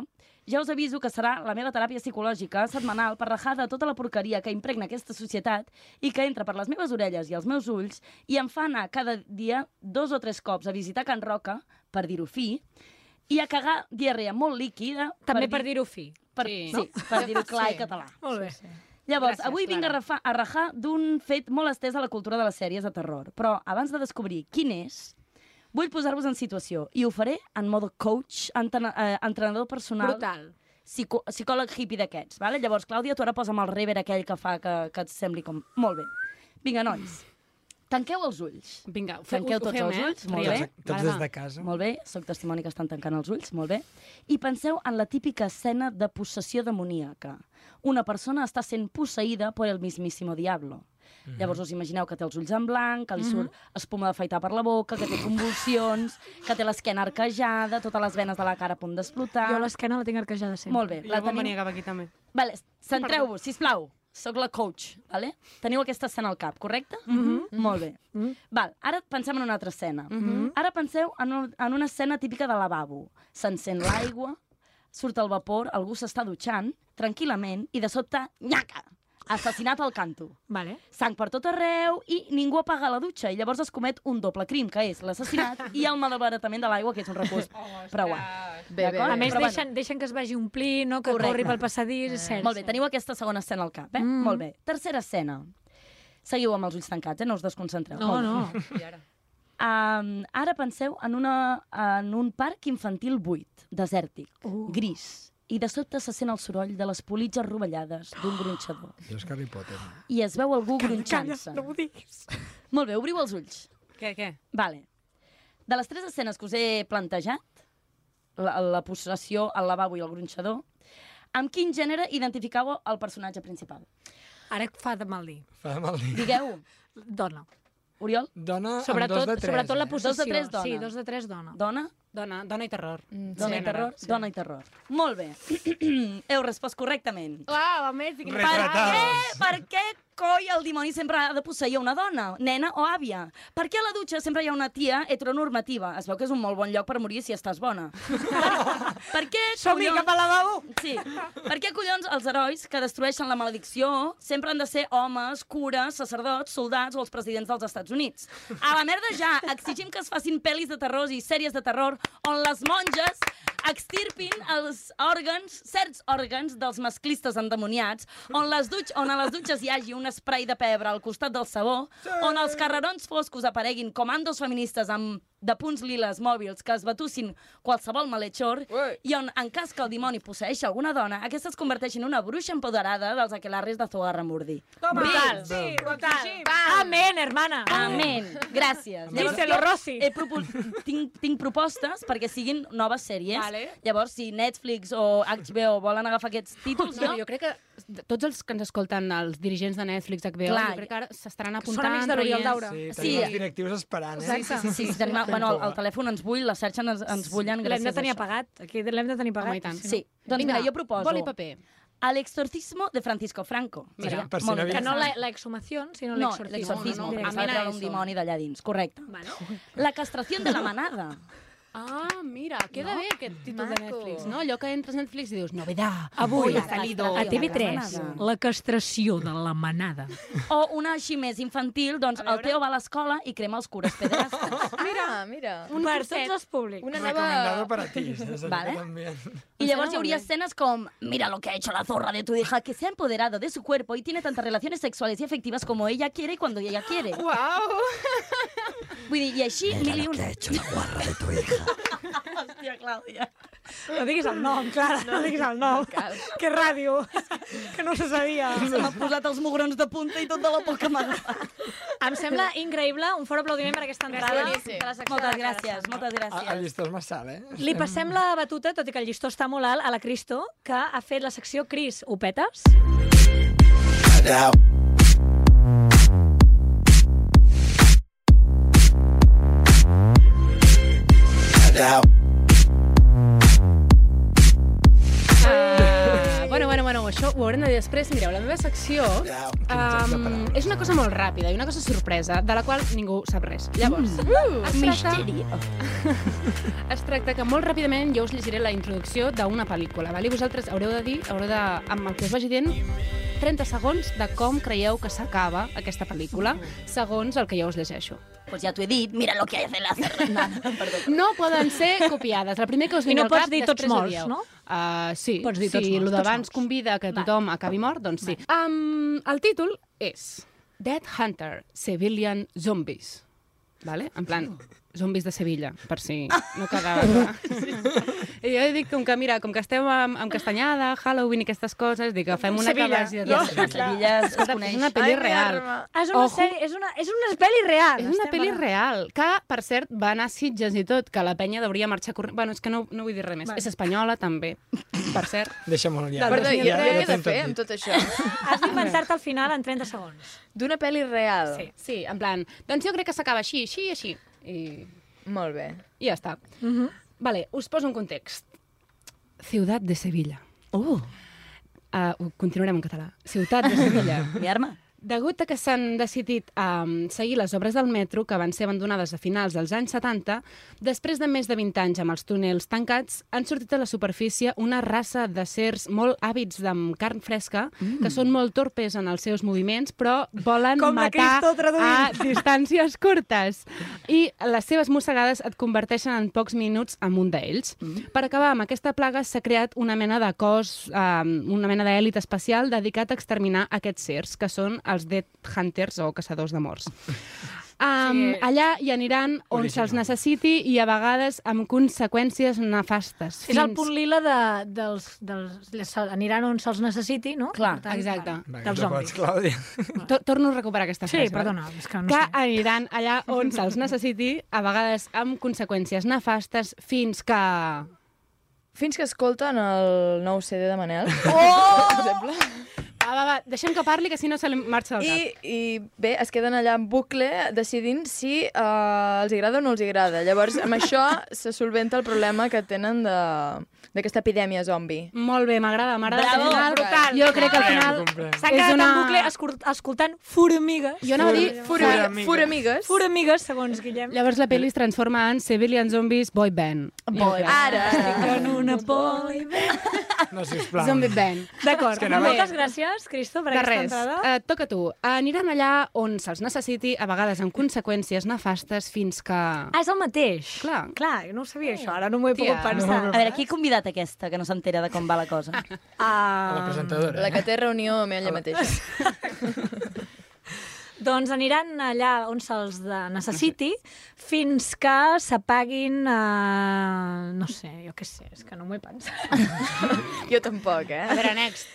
ja us aviso que serà la meva teràpia psicològica setmanal per rajar de tota la porqueria que impregna aquesta societat i que entra per les meves orelles i els meus ulls i em fa anar cada dia dos o tres cops a visitar Can Roca, per dir-ho fi, i a cagar diarrea molt líquida...
També per dir-ho fi.
Per, sí. sí, per dir-ho clar i català.
Molt bé.
Llavors,
Gràcies,
avui vinc a,
Clara.
rafa, a rajar d'un fet molt estès a la cultura de les sèries de terror. Però abans de descobrir quin és, vull posar-vos en situació. I ho faré en modo coach, entena, eh, entrenador personal.
Brutal.
Psico, psicòleg hippie d'aquests. Vale? Llavors, Clàudia, tu ara posa'm el rever aquell que fa que, que et sembli com... Molt bé. Vinga, nois. Tanqueu els ulls.
Vinga, ho fe- ho-
Tanqueu
ho
tots
fem,
els
eh?
ulls, molt
Tots-
bé.
tots Vale, des va. de casa.
Molt bé, sóc testimoni que estan tancant els ulls, molt bé. I penseu en la típica escena de possessió demoníaca. Una persona està sent posseïda per el mismíssimo diablo. Mm -hmm. Llavors us imagineu que té els ulls en blanc, que li surt mm -hmm. espuma d'afaitar per la boca, que té convulsions, que té l'esquena arquejada, totes les venes de la cara a punt d'explotar...
Jo l'esquena la tinc arquejada sempre.
Molt bé, la
Jo
tenim...
venia cap aquí, també.
Vale, centreu-vos, sisplau. Sóc la coach, vale? Teniu aquesta escena al cap, correcte? Mm -hmm. Molt bé. Mm -hmm. Val, ara pensem en una altra escena. Mm -hmm. Ara penseu en, un, en una escena típica de lavabo. S'encén l'aigua, surt el vapor, algú s'està dutxant, tranquil·lament, i de sobte, nyaca! Assassinat al canto.
Vale.
Sang per tot arreu i ningú apaga la dutxa. I llavors es comet un doble crim, que és l'assassinat i el malbaratament de l'aigua, que és un recurs oh, preuat. D'acord?
A més,
Però bueno.
deixen, deixen que es vagi omplint, no? que
Correcte.
corri pel passadís, és cert.
Molt bé, teniu aquesta segona escena al cap, eh?
Mm.
Mm. Molt bé. Tercera escena. Seguiu amb els ulls tancats, eh? No us desconcentreu.
No,
Molt bé.
no.
Um, ara penseu en, una, en un parc infantil buit, desèrtic, uh. gris, i de sobte se sent el soroll de les politges rovellades d'un gronxador.
Jo és Harry Potter.
I es veu algú gronxant-se.
no ho
diguis.
Molt bé, obriu els ulls.
Què, què?
Vale. De les tres escenes que us he plantejat, la, la possessió, el lavabo i el gronxador, amb quin gènere identificau el personatge principal?
Ara fa de mal dir.
Fa mal dir.
Digueu.
Dona.
Oriol?
Dona Ah, amb
Sobretot,
dos de tres,
sobretot la
eh?
possessió.
Dos de tres, dona.
Sí, dos de tres dona.
Dona?
Dona, dona i terror.
Dona i terror, sí. dona i terror. Molt bé. Heu respost correctament.
Uau, a més...
Per què?
Eh,
Per què coi el dimoni sempre ha de posseir una dona, nena o àvia? Per què a la dutxa sempre hi ha una tia heteronormativa? Es veu que és un molt bon lloc per morir si estàs bona. per, per què,
Som-hi
collons...
cap a lavabo!
Sí. Per què, collons, els herois que destrueixen la maledicció sempre han de ser homes, cures, sacerdots, soldats o els presidents dels Estats Units? A la merda ja! Exigim que es facin pel·lis de terror i sèries de terror on les monges extirpin els òrgans, certs òrgans dels masclistes endemoniats, on, les dutx, on a les dutxes hi hagi un spray de pebre al costat del sabó, sí. on els carrerons foscos apareguin comandos feministes amb de punts liles mòbils que es batussin qualsevol malhechor i on, en cas que el dimoni posseeixi alguna dona, aquesta es converteix en una bruixa empoderada dels aquelarres de Zugarramurdi.
Brutal. Sí, brutal. Amén, hermana.
Amén. Gràcies. Llavors,
Díselo,
jo
Rossi.
He propos... tinc, tinc propostes perquè siguin noves sèries.
Vale.
Llavors, si Netflix o HBO volen agafar aquests títols,
No, jo crec que tots els que ens escolten, els dirigents de Netflix, HBO,
Clar,
jo crec que ara s'estaran
són
apuntant...
amics de l'Oriol Daura.
Sí,
Sí.
tenim els directius esperant, eh?
Sí, sí, sí, sí, sí, tenim, bueno, el, el telèfon ens bull, la xarxa ens, ens bullen gràcies
L'hem de tenir
a això.
apagat. Aquí l'hem de tenir apagat.
Sí, sí. doncs mira, jo proposo...
Boli i paper.
El exorcismo de Francisco Franco.
Mira,
Seria
per si
molt
no havies-
Que no
interessant.
la, la exhumació, sinó
No,
l'exorcismo.
l'exorcismo.
No, no, no.
Amén a
Amén a
treure un
eso.
dimoni d'allà dins, correcte.
Bueno.
La castració de la manada. Ah, mira, queda
No?
bé aquest títol de
Maco.
Netflix, no? Allò que entres a Netflix i dius, novedad,
Avui
avui ha
ha
salido
estat
A TV3, la castració de la manada.
O una així més infantil, doncs el Teo va a l'escola i crema els cures pederastes.
Mira, ah, mira.
Un
per
curset.
tots els públics.
Una
Recomendado
nova...
para ti. César,
Vale.
que También.
Y llavors hi hauria escenes com Mira lo que ha hecho la zorra de tu hija que se ha empoderado de su cuerpo y tiene tantas relaciones sexuales y efectivas como ella quiere y cuando ella quiere.
Uau!
Vull dir, i així mil i un... Hòstia, Clàudia.
No diguis el nom, Clara, no, diguis el nom. que ràdio, que no se sabia.
Se m'ha posat els mugrons de punta i tot de la por que m'ha agafat.
Em sembla increïble. Un fort aplaudiment per aquesta entrada.
Boníssim.
de la secció
Moltes
de Clara
gràcies,
Santa.
moltes gràcies.
El llistó és massa alt, eh?
Li passem la batuta, tot i que el llistó està molt alt, a la Cristo, que ha fet la secció Cris, ho petes?
Ah, bueno, bueno, bueno, això ho haurem de dir després. Mireu, la meva secció um, és una cosa molt ràpida i una cosa sorpresa, de la qual ningú sap res. Llavors,
Mm.
es, tracta, es tracta que molt ràpidament jo us llegiré la introducció d'una pel·lícula. Val? I vosaltres haureu de dir, haureu de, amb el que us vagi dient, 30 segons de com creieu que s'acaba aquesta pel·lícula, segons el que jo us llegeixo.
Pues ja t'ho he dit, mira lo que hace la Fernanda.
No poden ser copiades. El primer que us
I
vingui
no
al cap,
pots dir tots
després ho
morts,
dieu.
no?
Uh, sí,
Pots dir
si
tots morts,
el
tots
d'abans convida que tothom acabi mort, doncs sí. Um, el títol és Dead Hunter, Civilian Zombies. Vale? En plan, zombis de Sevilla, per si no quedava clar. I jo dic com que, mira, com que esteu amb, amb castanyada, Halloween i aquestes coses, dic que fem una
Sevilla,
cabàcia
ja sé, Sevilla es
Escolta,
coneix.
és una pel·li
Ai,
real.
merda.
Ah, és una,
Ojo.
sèrie, és una, és una pel·li real.
És una
Estem
pel·li
parlant.
real, que, per cert, va anar a Sitges i tot, que la penya devia marxar corrent... Bueno, és que no, no vull dir res més.
Vale.
És espanyola, també, per cert.
Deixa'm-ho ja.
Perdó, i
ja,
ara què he de
t'hem tot
fer amb
dit.
tot això?
Has d'inventar-te el final en 30 segons.
D'una pel·li real.
Sí, sí, en plan, doncs jo crec que s'acaba així, així i així. I,
Molt bé.
I ja està.
Mhm.
Vale, us poso un context. Ciutat de Sevilla.
Oh.
Uh,
Uh, continuarem en català. Ciutat de Sevilla.
mi arma.
Degut a que s'han decidit um, seguir les obres del metro, que van ser abandonades a finals dels anys 70, després de més de 20 anys amb els túnels tancats, han sortit a la superfície una raça de sers molt hàbits amb carn fresca, mm. que són molt torpes en els seus moviments, però volen
Com la
matar
Cristo
a
traduint.
distàncies curtes. I les seves mossegades et converteixen en pocs minuts en un d'ells. Mm. Per acabar amb aquesta plaga s'ha creat una mena de cos, um, una mena d'èlit especial dedicat a exterminar aquests cerfs, que són els Dead Hunters o caçadors de morts. Um, sí. Allà hi aniran on se'ls necessiti i a vegades amb conseqüències nefastes.
És el punt lila de, dels, dels, les, aniran on se'ls necessiti, no?
Clar,
Per tant,
exacte.
Bueno,
Vinga,
dels
acabats,
zombis.
Clàudia.
To- Torno a recuperar aquesta
Sí,
frase. vale?
perdona, és que no
que
sé.
aniran allà on se'ls necessiti, a vegades amb conseqüències nefastes, fins que...
Fins que escolten el nou CD de Manel.
Oh! Va, va, va, deixem que parli, que si no se li marxa del cap.
I, I bé, es queden allà en bucle decidint si uh, els agrada o no els agrada. Llavors, amb això se solventa el problema que tenen de- d'aquesta epidèmia zombi.
Molt bé, m'agrada, m'agrada.
Bravo,
al final-
brutal.
Jo crec que al final...
Ho comprem.
S'han
És
quedat
una-
en bucle escur- escoltant formigues.
Jo anava a dir...
Fura,
amigues.
fura amigues.
Fur amigues, segons Guillem.
Llavors la pel·li es transforma en Civilian Zombies Boy Band. Boy
Ara.
En una poli...
No, sisplau.
Zombie Band.
D'acord,
És que anava-
moltes gràcies, Cristo, per
De
aquesta
res,
entrada.
eh, toca a tu. Aniran allà on se'ls necessiti, a vegades amb conseqüències nefastes, fins que...
Ah, és el mateix.
Eh. Clar.
Clar, no ho sabia això, ara no m'ho he
Tia.
pogut pensar.
A veure, qui ha convidat aquesta, que no s'entera de com va la cosa?
A la
Ah,
presentadora.
La
eh?
que té reunió amb ella mateixa.
doncs aniran allà on se'ls de- necessiti fins que s'apaguin... Eh, no sé, jo què sé, és que no m'ho he pensat.
Jo tampoc, eh?
veure, next.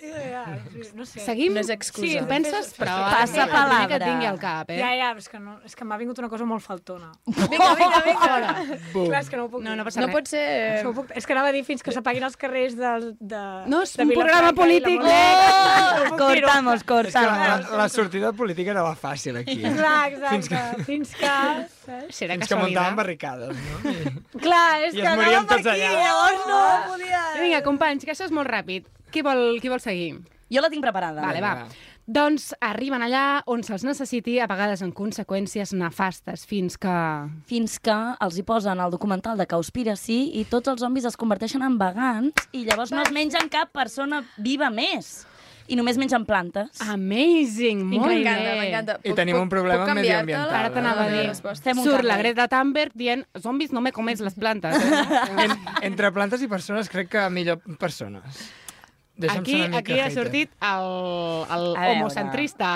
No sé.
Seguim?
No és excusa.
Sí, ho penses, però...
Passa
el primer Que
palabra.
et vingui al cap, eh?
Ja, ja, però és que, no, és que m'ha vingut una cosa molt faltona.
Vinga, vinga, vinga.
Clar, és que no ho puc
No, no passa
No
res. Eh.
pot ser... eh,
Això ho puc... És que anava a dir fins que s'apaguin els carrers de... de
No és
de
un
Vilafranca i
programa
la
polític,
Mollerussa. No puc dir-ho.
cortamos,
És que la,
cortamos.
la, la sortida política era la fàcil, aquí.
Clar, exacte. Fins que... Fins que...
Serà
Fins que muntaven barricades, no?
Clar, és
I
que
es morien
anava per
tots
aquí,
allà.
llavors no podia...
Vinga, companys, que això és molt ràpid. Qui vol, qui vol seguir?
Jo la tinc preparada.
Vale, va. Doncs arriben allà on se'ls necessiti, a vegades en conseqüències nefastes, fins que...
Fins que els hi posen el documental de Causpiracy i tots els zombis es converteixen en vegans i llavors no es mengen cap persona viva més. I només mengen plantes.
Amazing! Molt
M'encanta,
bé.
m'encanta.
I tenim un problema medioambiental.
Ara t'anava a dir.
Resposta.
Surt la Greta Thunberg dient zombis no me comes les plantes. Eh?
En, entre plantes i persones, crec que millor persones. Deixa'm
aquí
ser una mica
aquí ha
hater.
sortit el, el
A veure.
homocentrista.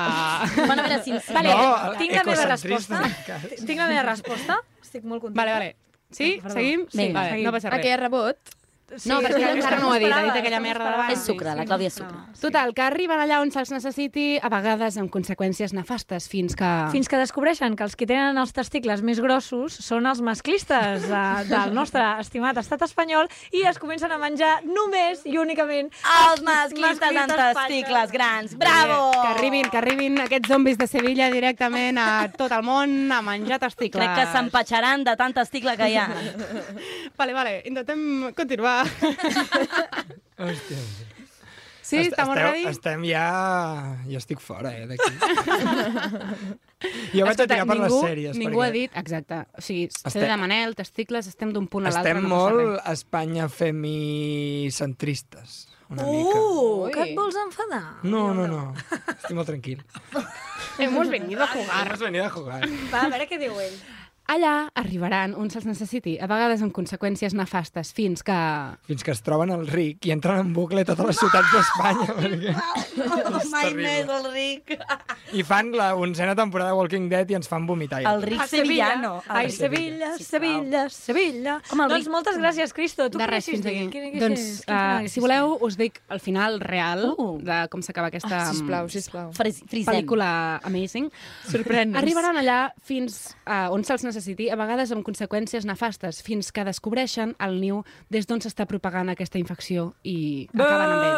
Bueno, a veure, si...
Sí.
Vale,
No,
tinc la meva
ecocentrista,
resposta. Tinc la meva resposta. Estic molt contenta.
Vale, vale. Sí,
Perdó.
seguim? Sí,
Ah, Vinga.
vale,
Seguim.
no passa res.
Aquell rebot.
No,
Sí,
però és que
sí,
encara
sí,
no ho ha dit, ha
esperava,
dit aquella merda d'abans.
És sucre, la Clàudia és sucre.
Total, que arriben allà on se'ls necessiti, a vegades amb conseqüències nefastes, fins que...
Fins que descobreixen que els que tenen els testicles més grossos són els masclistes eh, del nostre estimat estat espanyol i es comencen a menjar només i únicament
Els masclistes amb testicles grans. Bravo!
Que arribin, que arribin aquests zombis de Sevilla directament a tot el món a menjar testicles.
Crec que s'empatxaran de tant testicle que hi ha.
Vale, vale, intentem continuar.
Hòstia.
Sí,
Est-
estamos
esteu-
ready?
Estem ja... Jo estic fora, eh, d'aquí. jo vaig a
Escolta,
tirar per
ningú,
les sèries.
Ningú
perquè
ha dit, exacte, o sigui, estem...
Estem-
de Manel, testicles, estem d'un punt a l'altre.
Estem
no passa
molt
res.
a Espanya femicentristes, una mica.
Uh,
Ui.
que et vols enfadar?
No, no, no. Estic molt tranquil.
Hemos venido a jugar. eh?
Has venido a jugar.
Va, a veure què diu ell.
Allà arribaran on se'ls necessiti, a vegades amb conseqüències nefastes, fins que...
Fins que es troben el ric i entren en bucle a totes les ciutats d'Espanya. perquè- És
Mai
terrible.
més el ric.
I fan la onzena temporada de Walking Dead i ens fan vomitar.
El ric
A Sevilla.
sevillano. El
Ai,
ric.
Sevilla,
sisplau.
Sevilla, Sevilla.
Home, el
Doncs
ric-
moltes gràcies, Cristo. Tu
de
què eh,
res, fins
hiciste?
aquí.
Quin- quin-
Doncs,
quin- quin
uh,
final
si voleu, us dic el final real
Uh.
de com s'acaba aquesta
Ah,
mm,
sisplau, sisplau.
Fris- Frisem.
pel·lícula amazing.
Sorprèn-nos.
Arribaran allà fins uh, on se'ls necessiti, a vegades amb conseqüències nefastes, fins que descobreixen el niu des d'on s'està propagant aquesta infecció i acaben amb ell.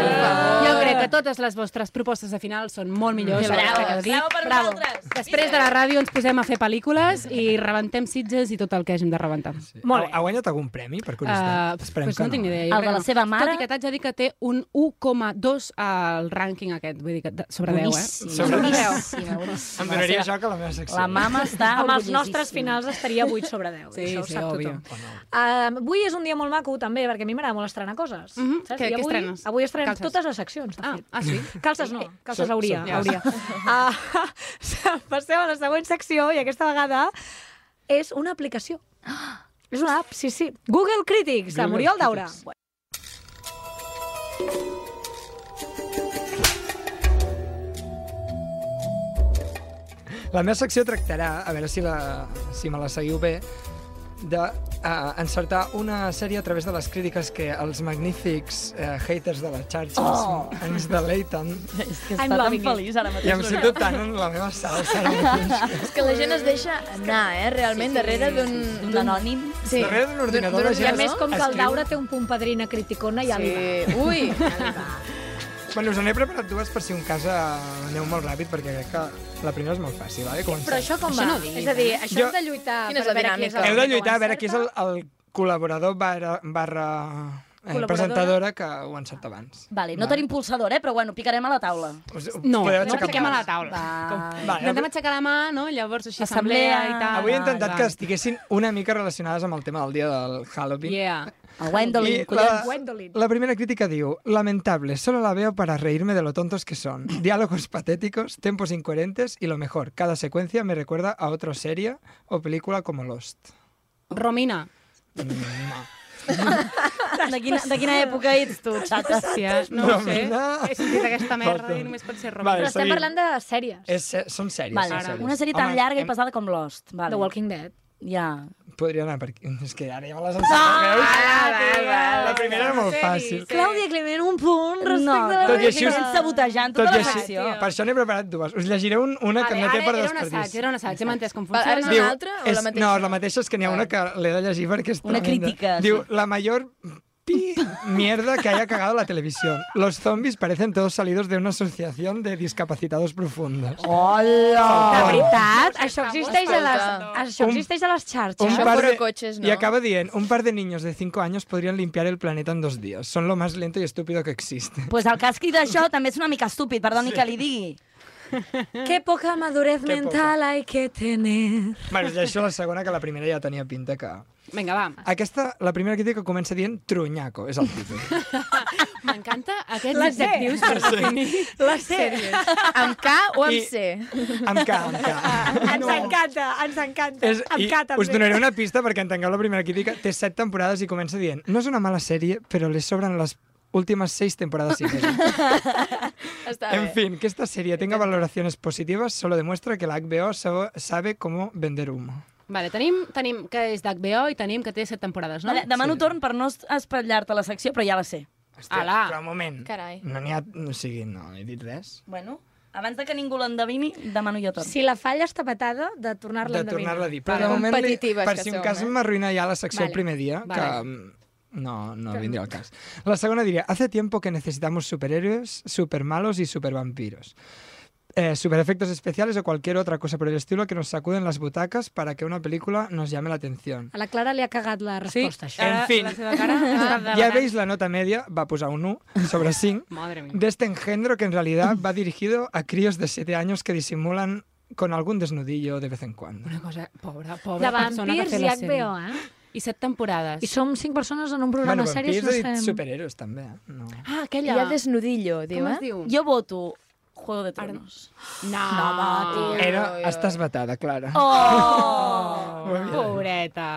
Ah.
Jo crec que totes les vostres propostes de final són molt millors.
Bravo,
aquesta que heu dit.
bravo per vosaltres.
Després de la ràdio ens posem a fer pel·lícules i rebentem sitges i tot el que hàgim de rebentar.
Sí. Molt bé. Ha, ha guanyat algun premi, per
Uh,
curiositat? Esperem
pues
que
no, tinc ni idea. jo
El de
crec
la
que no.
seva mare?
Tot i que t'haig de dir que té un 1,2 al rànquing aquest, vull dir que de- sobre 10, eh?
Boníssima,
Sobre deu.
boníssima, boníssima.
Em donaria
La seva-
això que la meva secció.
La mama està
Ah,
amb els nostres
orgullosíssima.
finals estaria 8 sobre 10.
Sí,
això ho
sí,
sap
òbvio.
tothom. Uh, avui és un dia molt maco, també, perquè a mi m'agrada molt estrenar coses.
Mhm.
saps? I
Què- què
avui,
estrenes?
Avui estrenem
Calces.
totes les seccions, de
Ah,
fet.
ah, sí?
Calces no, calces
Sor-
hauria.
sorpresa.
hauria. Uh, passem a la següent secció, i aquesta vegada és una aplicació. És una app, sí, sí. Google Critics, amb
Google
Oriol Daura.
Critics. La meva secció tractarà, a veure si, la, si me la seguiu bé, d'encertar una sèrie a través de les crítiques que els magnífics eh, haters de les xarxes
Oh.
ens deleiten.
És que
I'm
està tan
loving it.
feliç ara mateix.
I em sento tant en la meva salsa. ara mateix.
És que la gent es deixa anar, eh, realment, darrere d'un...
Un
d'un-
anònim.
Sí.
Darrere d'un ordinador la
I a
gent
més, com que el
escriu-
Daura té un punt padrina criticona, ja li va.
Sí. Ui!
Bueno, us n'he preparat dues per si un cas eh, aneu molt ràpid, perquè crec que la primera és molt fàcil, eh, vale? Comencem.
Però això com va? és a dir, això
Jo-
hem de lluitar
Quina és la
per veure qui és
dinàmica?
el
Heu de
que ho
lluitar a veure qui és
encerta.
el, el col·laborador barra, barra eh,
Col·laboradora?
presentadora que ho encerta abans.
Vale, no tenim pulsador, eh? però bueno, picarem a la taula.
Us, us
No,
podeu
no
aixecar
fiquem a
mans.
la taula.
Va.
Vale,
Intentem aixecar la mà, no? Llavors així assemblea,
Assemblea.
i tal.
Ah, Avui he
Vale,
intentat
vale.
que estiguessin una mica relacionades amb el tema del dia del Halloween.
Yeah.
El Wendolin,
I
collons.
Gwendolyn.
la primera crítica diu Lamentable, solo la veo para reírme de lo tontos que son. Diálogos patéticos, tempos incoherentes y lo mejor, cada secuencia me recuerda a otra serie o película como Lost. Mm,
Romina.
De quina, de quina època ets tu, xata?
Hòstia, eh? no ho sé.
Romina.
He sentit aquesta merda
Falta.
i només pot ser
Vale,
Romina.
Però estem
seguim.
parlant de sèries.
És, se- són sèries.
Vale,
són sèries.
una sèrie tan
Home,
llarga i
em-
pesada com Lost. Vale.
The Walking Dead.
Ja.
Podria anar per aquí. És que ara ja me les encerteu. La primera era molt fàcil.
Clàudia Clement, un punt respecte
No,
a la
tot i
resta.
així us-
Estem sabotejant
Tot
tota
i
la
així,
secció.
per això n'he preparat dues. Us llegiré un, una que
Vale,
no té
ara
per
era un assaig,
desperdici.
era un assaig, hem entès com
Va, ara és
funciona.
una altra o la
és,
mateixa?
no, és la mateixa, és que n'hi ha una que l'he de llegir perquè és
Una
tremenda.
crítica,
Diu,
sí.
la major pi mierda que haya cagado la televisión. Los zombies parecen todos salidos de una asociación de discapacitados profundos.
Hola! De veritat, això existeix a les, això existeix a les xarxes.
Un par de, Y acaba bien. Un par de niños de 5 años podrían limpiar el planeta en dos días. Son lo más lento y estúpido que existe.
Pues el que ha escrit això també és una mica estúpid, perdoni sí. que li digui.
Que poca madurez
Que poca.
mental hay que tener.
Bueno, és això la segona, que la primera ja tenia pinta que...
Vinga, va.
Aquesta, la primera crítica comença dient trunyaco, és el títol.
M'encanta aquests
La sé.
adjectius per
La sé.
definir.
La sé.
Amb K o amb
I-
C?
Amb K, amb K.
Ah, Ens encanta, ens encanta.
És,
amb
i
K, també.
us donaré una pista perquè entengueu la primera crítica. Té set temporades i comença dient no és una mala sèrie, però li sobren les últimas seis temporadas sin ella".
Està
En
bé.
fin, que esta serie tenga valoraciones positivas solo demuestra que la HBO sabo- sabe cómo vender humo.
Vale, tenim, tenim que és d'HBO i tenim que té set temporades, no?
Vale, demano sí. torn per no espatllar-te la secció, però ja la sé.
Hòstia, Alà. però un moment.
Carai.
No n'hi ha... O sigui, no he dit res.
Bueno, abans de que ningú l'endevini, demano jo torn.
Si la falla està patada, de
De
tornar-la a endevinar.
tornar-la a dir. Però de moment, li, per si un cas m'arruïna ja la secció
¿eh? Vale.
el primer dia,
Vale.
que mm, no, no vindría al caso. La segunda diría, hace tiempo que necesitamos superhéroes, supermalos y supervampiros. Eh, superefectos especiales o cualquier otra cosa por el estilo que nos sacuden las butacas para que una película nos llame la atención.
A la Clara li ha cagat la resposta, sí, això.
en fin.
La seva cara
Ya veis la nota media, va pues a un U sobre 5,
Madre mía.
de este engendro que en realidad va dirigido a críos de 7 años que disimulan con algún desnudillo de vez en cuando.
Una cosa, pobra,
De
pobra persona que
vampirs
té
i
la sèrie.
HBO, eh?
I set temporades.
I som cinc persones en un programa
Bueno,
bueno, sèries,
vampirs
no
he dit
sabem.
superhéroes també. eh? No.
Ah, aquella.
Hi ha desnudillo, diu,
Com
eh?
es diu?
Jo voto Juego de Tronos.
No,
home, tio.
Era, estàs vetada, Clara.
Oh!
Molt bé.
Pobreta.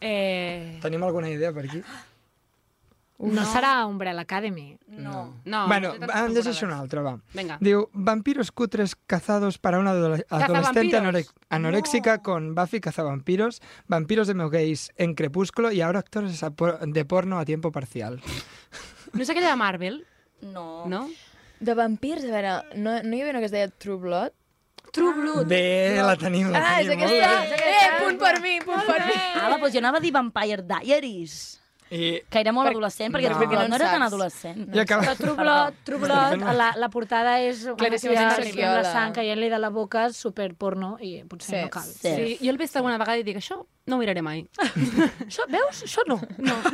Eh...
Tenim alguna idea per aquí?
No, no serà Umbrella Academy.
No.
No,
bueno,
no té tantes
em llegeix una altra, va.
Vinga.
Diu, vampiros cutres cazados para una adole- adolescente anore- anoréxica con Buffy cazavampiros, vampiros de gays en Crepúsculo y ahora actores a por- de porno a tiempo parcial.
No és aquella de Marvel?
No.
No?
De vampirs, a veure, no, no hi havia una que es deia True Blood?
True Blood.
Bé, la tenim, la
Ah, és
tenim.
aquesta.
molt bé.
Eh, punt per mi, punt per mi.
Ala, doncs jo anava a dir Vampire Diaries.
I...
Que era molt adolescent, perquè
No.
True Blood no era tan
Saps.
adolescent.
I acaba...
Però True Blood, True Blood,
Perdona.
la, la portada és una
Claríssim,
tia
és
amb la
Arriola.
sang caient-li de la boca, superporno, i potser
Sí,
no cal.
Sí. sí. Jo el veig alguna vegada i dic, això no ho miraré mai.
Això, veus? Això no. no.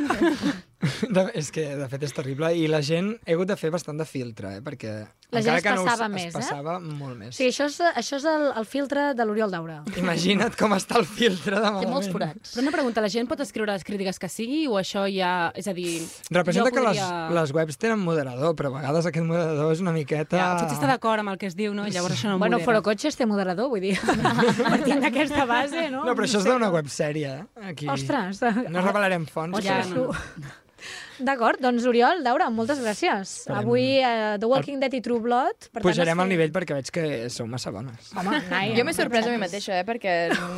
De, és que, de fet, és terrible. I la gent... He hagut de fer bastant de filtre, eh? Perquè...
La gent
encara
es
que no
passava
us,
més, eh?
es passava molt més.
Sí, això és, això és el, el filtre de l'Oriol Daura.
Imagina't com està el filtre de malament.
Però una pregunta, la gent pot escriure les crítiques que sigui o això ja... És a dir...
Representa
jo
que les,
podria-
les webs tenen moderador, però a vegades aquest moderador és una miqueta...
Ja, potser està d'acord amb el que es diu, no? Llavors això no em
bueno,
modera.
però cotxes té moderador, vull dir. Partint d'aquesta base, no?
No, però això és d'una websèrie, eh? Aquí.
Ostres.
No revelarem fonts.
Ostres,
però-
tu. D'acord, doncs Oriol, Daura, moltes gràcies.
Farem-
Avui uh, The Walking Dead i True Blood. Per tant,
Pujarem
has
al
fet-
nivell perquè veig que sou massa bones.
Home, naia.
Jo m'he sorprès a mi mateixa, eh, perquè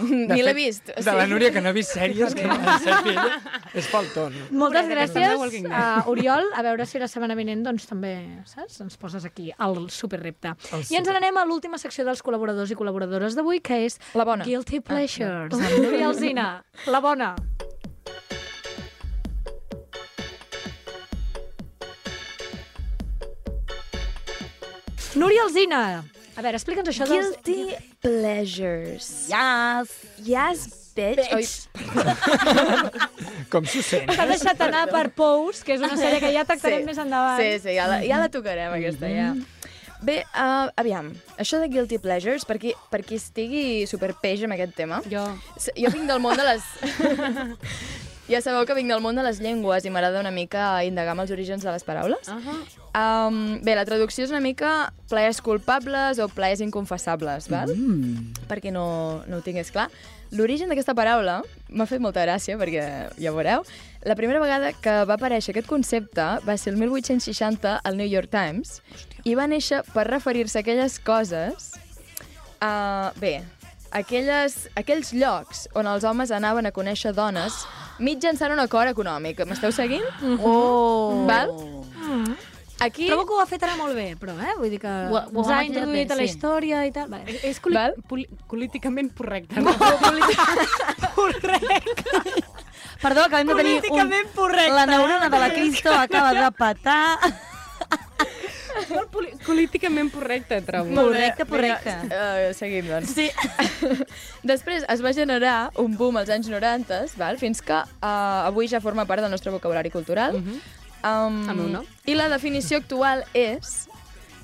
ni
De
l'he
fet,
vist. o
De la
sigui.
Núria, que no ha vist sèries, que no sèpia, és faltón.
Moltes
Pobreta, que no
gràcies,
vulguin
a Oriol. A veure si la setmana vinent doncs, també saps? ens poses aquí al superrepte.
El
I ens n'anem a l'última secció dels col·laboradors i col·laboradores d'avui, que és
La bona. Ah,
Guilty Pleasures, amb Núria Alzina. La bona. Núria Alzina, a veure, explica'ns això dels...
Guilty pleasures.
Yes.
Yes, bitch.
Bitch.
Com s'ho sent?
T'ha deixat anar per Pous, que és una sèrie que ja tractarem
Sí.
més endavant. Mm-hmm.
Sí, sí, ja la, ja la tocarem, aquesta, ja. Bé, uh, aviam, això de Guilty Pleasures, per qui, per qui estigui superpeix amb aquest tema...
Jo.
Jo vinc del món de les... ja sabeu que vinc del món de les llengües i m'agrada una mica indagar amb els orígens de les paraules. Uh -huh. um, bé, la traducció és una mica plaers culpables o plaers inconfessables, val? perquè no, no ho tingués clar. L'origen d'aquesta paraula m'ha fet molta gràcia, perquè ja ho veureu. La primera vegada que va aparèixer aquest concepte va ser el 1860 al New York Times i va néixer per referir-se a aquelles coses... Uh, bé, aquelles, aquells llocs on els homes anaven a conèixer dones mitjançant un acord econòmic. M'esteu seguint?
Oh.
Val?
Mm.
Aquí...
Trobo que ho ha fet ara molt bé, però, eh? Vull dir que
Ho- ho
ens
ha
ha
maquillat
introduït
bé,
a la
sí.
història i tal. Vale.
És col
Val?
pol políticament correcte. No?
Perdó, acabem de tenir un...
Políticament correcte,
La
eh?
neurona de la Cristo acaba de petar.
Molt poli- políticament correcte, trobo.
Molt bé, Vinga, uh, seguim, doncs. Sí. Després es va generar un boom als anys 90, val? fins que uh, avui ja forma part del nostre vocabulari cultural. Mm -hmm. um,
Mhm. El meu no.
I la definició actual és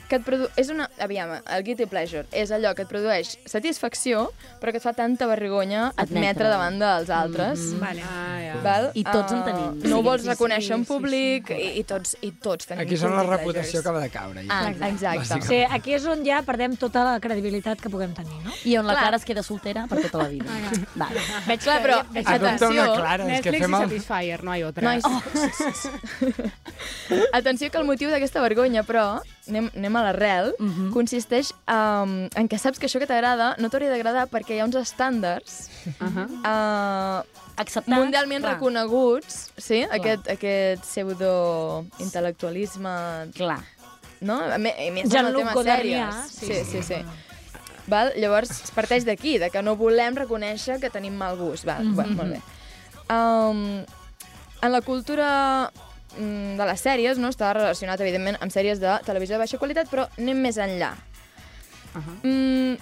que et produ... és una... Aviam, el guilty pleasure és allò que et produeix satisfacció, però que et fa tanta vergonya admetre,
Admetre.
davant dels altres. Mm -hmm.
Vale.
Ah, ja.
Val?
Mhm. I tots en
Eh,
tenim.
No
Sí,
ho vols
sí, sí,
reconèixer en
sí, sí.
públic i, i tots i tots tenim
Aquí és on la
guilty
reputació
pleasures.
acaba de caure. ja.
Ah, exacte.
Sí, aquí és on ja perdem tota la credibilitat que puguem tenir, no?
I on la Clara es queda soltera per tota la vida. Vale.
Ah, Veig Clar, però,
Adopta una Ah, doncs clara, és que
Netflix
fem
i
el...
Satisfyer, no hi ha otra.
Nois. Atenció que el motiu d'aquesta vergonya, però, anem, anem a l'arrel, consisteix um, en que saps que això que t'agrada no t'hauria d'agradar perquè hi ha uns estàndards uh,
Acceptats,
mundialment
clar.
reconeguts, sí?
Clar.
Aquest, aquest pseudo-intel·lectualisme...
Clar.
No? A me- a més,
Jean-Luc
el tema
Godard,
sèries.
sí,
Sí,
sí.
sí, sí. Val? Llavors, es parteix d'aquí, de que no volem reconèixer que tenim mal gust. Val? Mm
Mhm.
-hmm. bueno, molt bé. Um, en la cultura mm, de les sèries, no? està relacionat, evidentment, amb sèries de televisió de baixa qualitat, però anem més enllà. Mm,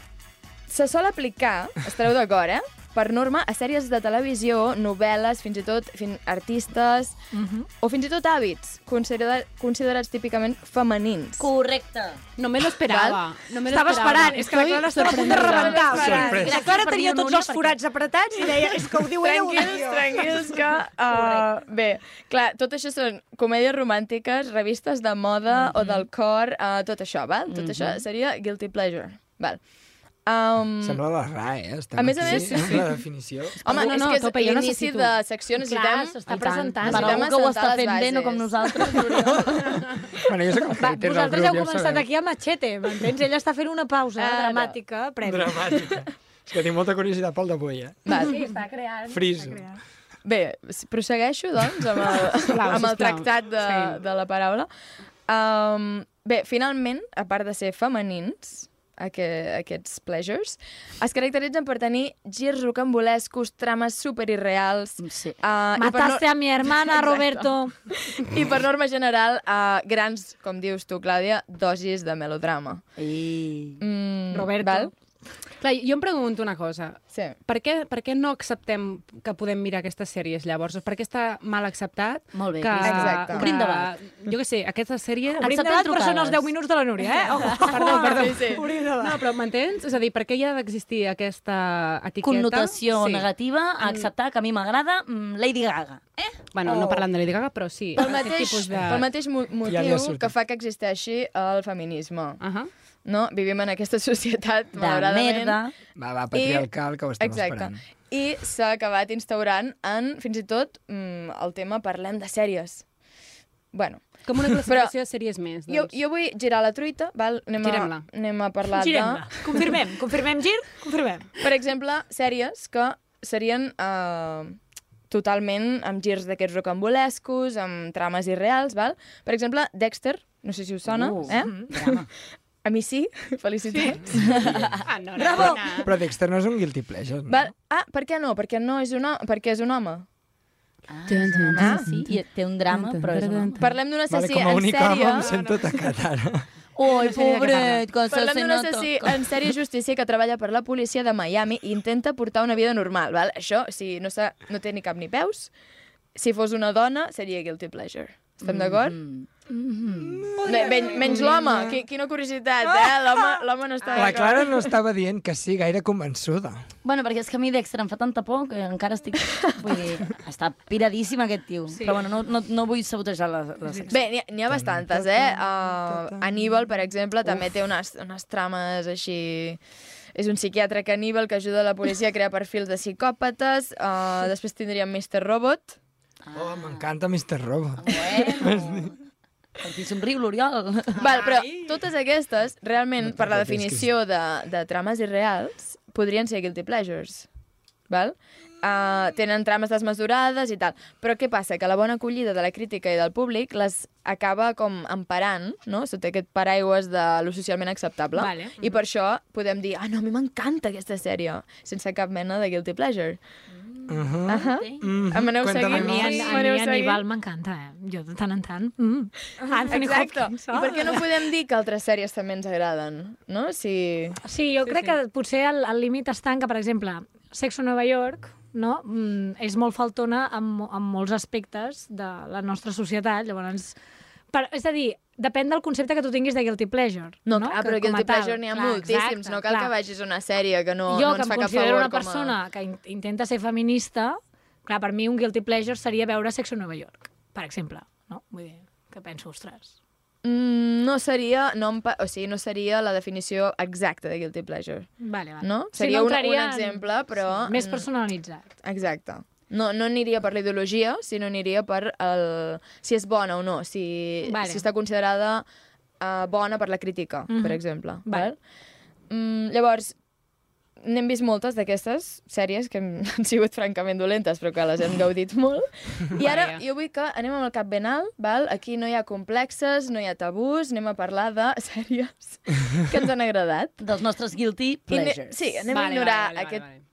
se sol aplicar, estareu d'acord, eh? per norma, a sèries de televisió, novel·les, fins i tot fin artistes,
Mhm.
o fins i tot hàbits considera considerats típicament femenins.
Correcte.
No me lo esperaba. No me lo
Estava
esperaba.
esperant, és que la
Estoy
Clara estava a punt de
sorprendida.
rebentar. o sigui,
Sorpresa.
La Clara tenia tots els forats apretats i deia, és que ho diu ella, ho diu
Tranquils,
jo.
tranquils, que... Uh, bé, clar, tot això són comèdies romàntiques, revistes de moda o del cor, uh, tot això, val? Tot això seria guilty pleasure, val? Um,
Sembla la RAE, eh? Estem
A més a
aquí,
més, sí,
eh,
sí.
La definició.
No,
Home, no,
no,
no, és que
tope,
és
jo
l'inici
necessito.
de secció, necessitem...
Clar, s'està presentant.
Per
necessitem
algú que ho
assentar
està
les
fent bé, no com
bases.
nosaltres.
Bueno, jo soc el
Va,
hater del
vosaltres
grup,
heu
ja ho
començat
sabeu.
aquí a machete, m'entens? Ella està fent una pausa eh,
Ara.
dramàtica, prèvia.
Dramàtica. És que tinc molta curiositat pel d'avui, eh?
Val.
està creant.
Friso.
Bé, s- prossegueixo, doncs, amb el,
Sisplau,
amb el
sisplau.
tractat de,
Seguim.
de la paraula. Um, bé, finalment, a part de ser femenins, aqu aquests pleasures, es caracteritzen per tenir girs rocambolescos, trames superirreals...
Mm,
Sí.
Uh,
Ah,
Mataste a mi hermana, Roberto.
I per norma general, uh, grans, com dius tu, Clàudia, dosis de melodrama.
I...
Mm,
Roberto.
Val?
Clar, jo em pregunto una cosa.
Sí.
Per què, per què no acceptem que podem mirar aquestes sèries, llavors? Per què està mal acceptat
Molt bé,
que...
Exacte.
que-
Obrim debat.
Jo què sé, aquesta sèrie...
Obrim
Acceptem
debat, però són els
trucades.
10 minuts de la Núria, eh? Ojo,
Perdó, perdó.
Sí, sí.
Obrim debat.
No, però m'entens? És a dir, per què hi ha d'existir aquesta etiqueta?
Connotació negativa
Mm.
a acceptar que a mi m'agrada mm, Lady Gaga. Eh?
Bueno, no
Oh.
parlant de Lady Gaga, però sí.
Pel
aquest
mateix,
tipus de...
pel mateix mo-
Ja li ha
motiu
sortit.
que fa que existeixi el feminisme.
Uh -huh.
No? Vivim en aquesta societat,
De
malauradament,
merda.
Va, va, patriarcal, que ho estem
Exacte.
esperant.
I s'ha acabat instaurant en, fins i tot, mm, el tema parlem de sèries. Bueno,
Com una classificació de sèries més,
jo,
doncs.
jo vull girar la truita, val? Anem a,
Girem-la.
anem a parlar
Girem-la. Confirmem, confirmem gir, confirmem.
de... Per exemple, sèries que serien eh, totalment amb girs d'aquests rocambolescos, amb trames irreals, val? Per exemple, Dexter, no sé si us sona,
Uh,
eh?
Drama.
A mi sí, felicitats.
Ah, no, no,
Bravo!
no.
Però Dexter no és un guilty pleasure, no?
Val? Ah, per què no? Perquè no és un home, perquè és un home.
Ah, és un home, sí, i té un drama, però és un home.
Parlem d'un
Vale,
assassí
com a
en
única
sèrie...
home em sento tacat ara.
sé
Oi,
de què
pobret, que se
Parlem
se
d'un
nota.
assassí en sèrie justícia que treballa per la policia de Miami i intenta portar una vida normal, val? Això, si no, s'ha- no té ni cap ni peus, si fos una dona, seria guilty pleasure. Estem d'acord? Mm. Men menys l'home. Qui Quina curiositat, eh? L'home- L'home no està
La Clara no estava dient que sí, gaire convençuda.
Bueno, perquè és que a mi Dexter em fa tanta por que encara estic... Vull dir, està piradíssim aquest tio. Sí. Però bueno, no, no, no vull sabotejar la, la secció.
Bé, n'hi ha- n'hi ha bastantes, eh? Uh, Aníbal, per exemple, també té unes, unes trames així... És un psiquiatre caníbal que ajuda la policia a crear perfils de psicòpates. Uh, després tindríem Mr. Robot.
Oh, m'encanta Mr. Robot.
Bueno. Aquí eh? somriu l'Oriol.
Val, però totes aquestes, realment, per la definició de, de trames irreals, podrien ser guilty pleasures. Val? Uh, tenen trames desmesurades i tal. Però què passa? Que la bona acollida de la crítica i del públic les acaba com emparant, no? Sota aquest paraigües de lo socialment acceptable.
Vale.
I per això podem dir, ah, no, a mi m'encanta aquesta sèrie, sense cap mena de guilty pleasure. Mm.
Ajá.
Ajá.
mm-hmm.
A Maneu
A mi,
Seguí.
a, a
Maneu
mi Aníbal
Seguí.
m'encanta, eh? Jo de tant en tant. Mm. Anthony
Exacte.
Hopkins.
I per què no podem dir que altres sèries també ens agraden, no? Si...
Sí, jo sí, crec sí. que potser el el límit es tanca, per exemple, Sexo a Nova York, no? Mm, és molt faltona en, mo- en molts aspectes de la nostra societat, llavors... Per, és a dir, depèn del concepte que tu tinguis de guilty pleasure.
No, clar, però
com a
Guilty
tal,
Pleasure n'hi ha
clar,
moltíssims.
exacte,
no cal que
clar.
vagis a una sèrie que no,
jo,
no ens
que em
fa cap
considero
favor.
una persona que in intenta ser feminista, clar, per mi un guilty pleasure seria veure Sexo a Nova York, per exemple. No? Vull dir, que penso, ostres...
Com a... Mm, no seria... No, em pa- o sigui, no seria la definició exacta de Guilty Pleasure.
Vale, vale.
No?
Sí,
Seria un, un
entraria en-
exemple, però...
Sí, més
mm,
personalitzat.
Exacte. No, no aniria per la ideologia, sinó aniria per el, si és bona o no, si,
Vale.
vale. si està considerada uh, bona per la crítica, mm
Mhm.
-hmm. per exemple. Val.
Vale.
Val? Mm, llavors, n'hem vist moltes d'aquestes sèries que hem- han sigut francament dolentes, però que les hem gaudit molt. I ara jo vull que anem amb el cap ben alt, val? aquí no hi ha complexes, no hi ha tabús, anem a parlar de sèries que ens han agradat.
Dels nostres guilty
I ne-
pleasures.
Sí, anem vale, a ignorar vale, vale, aquest vale,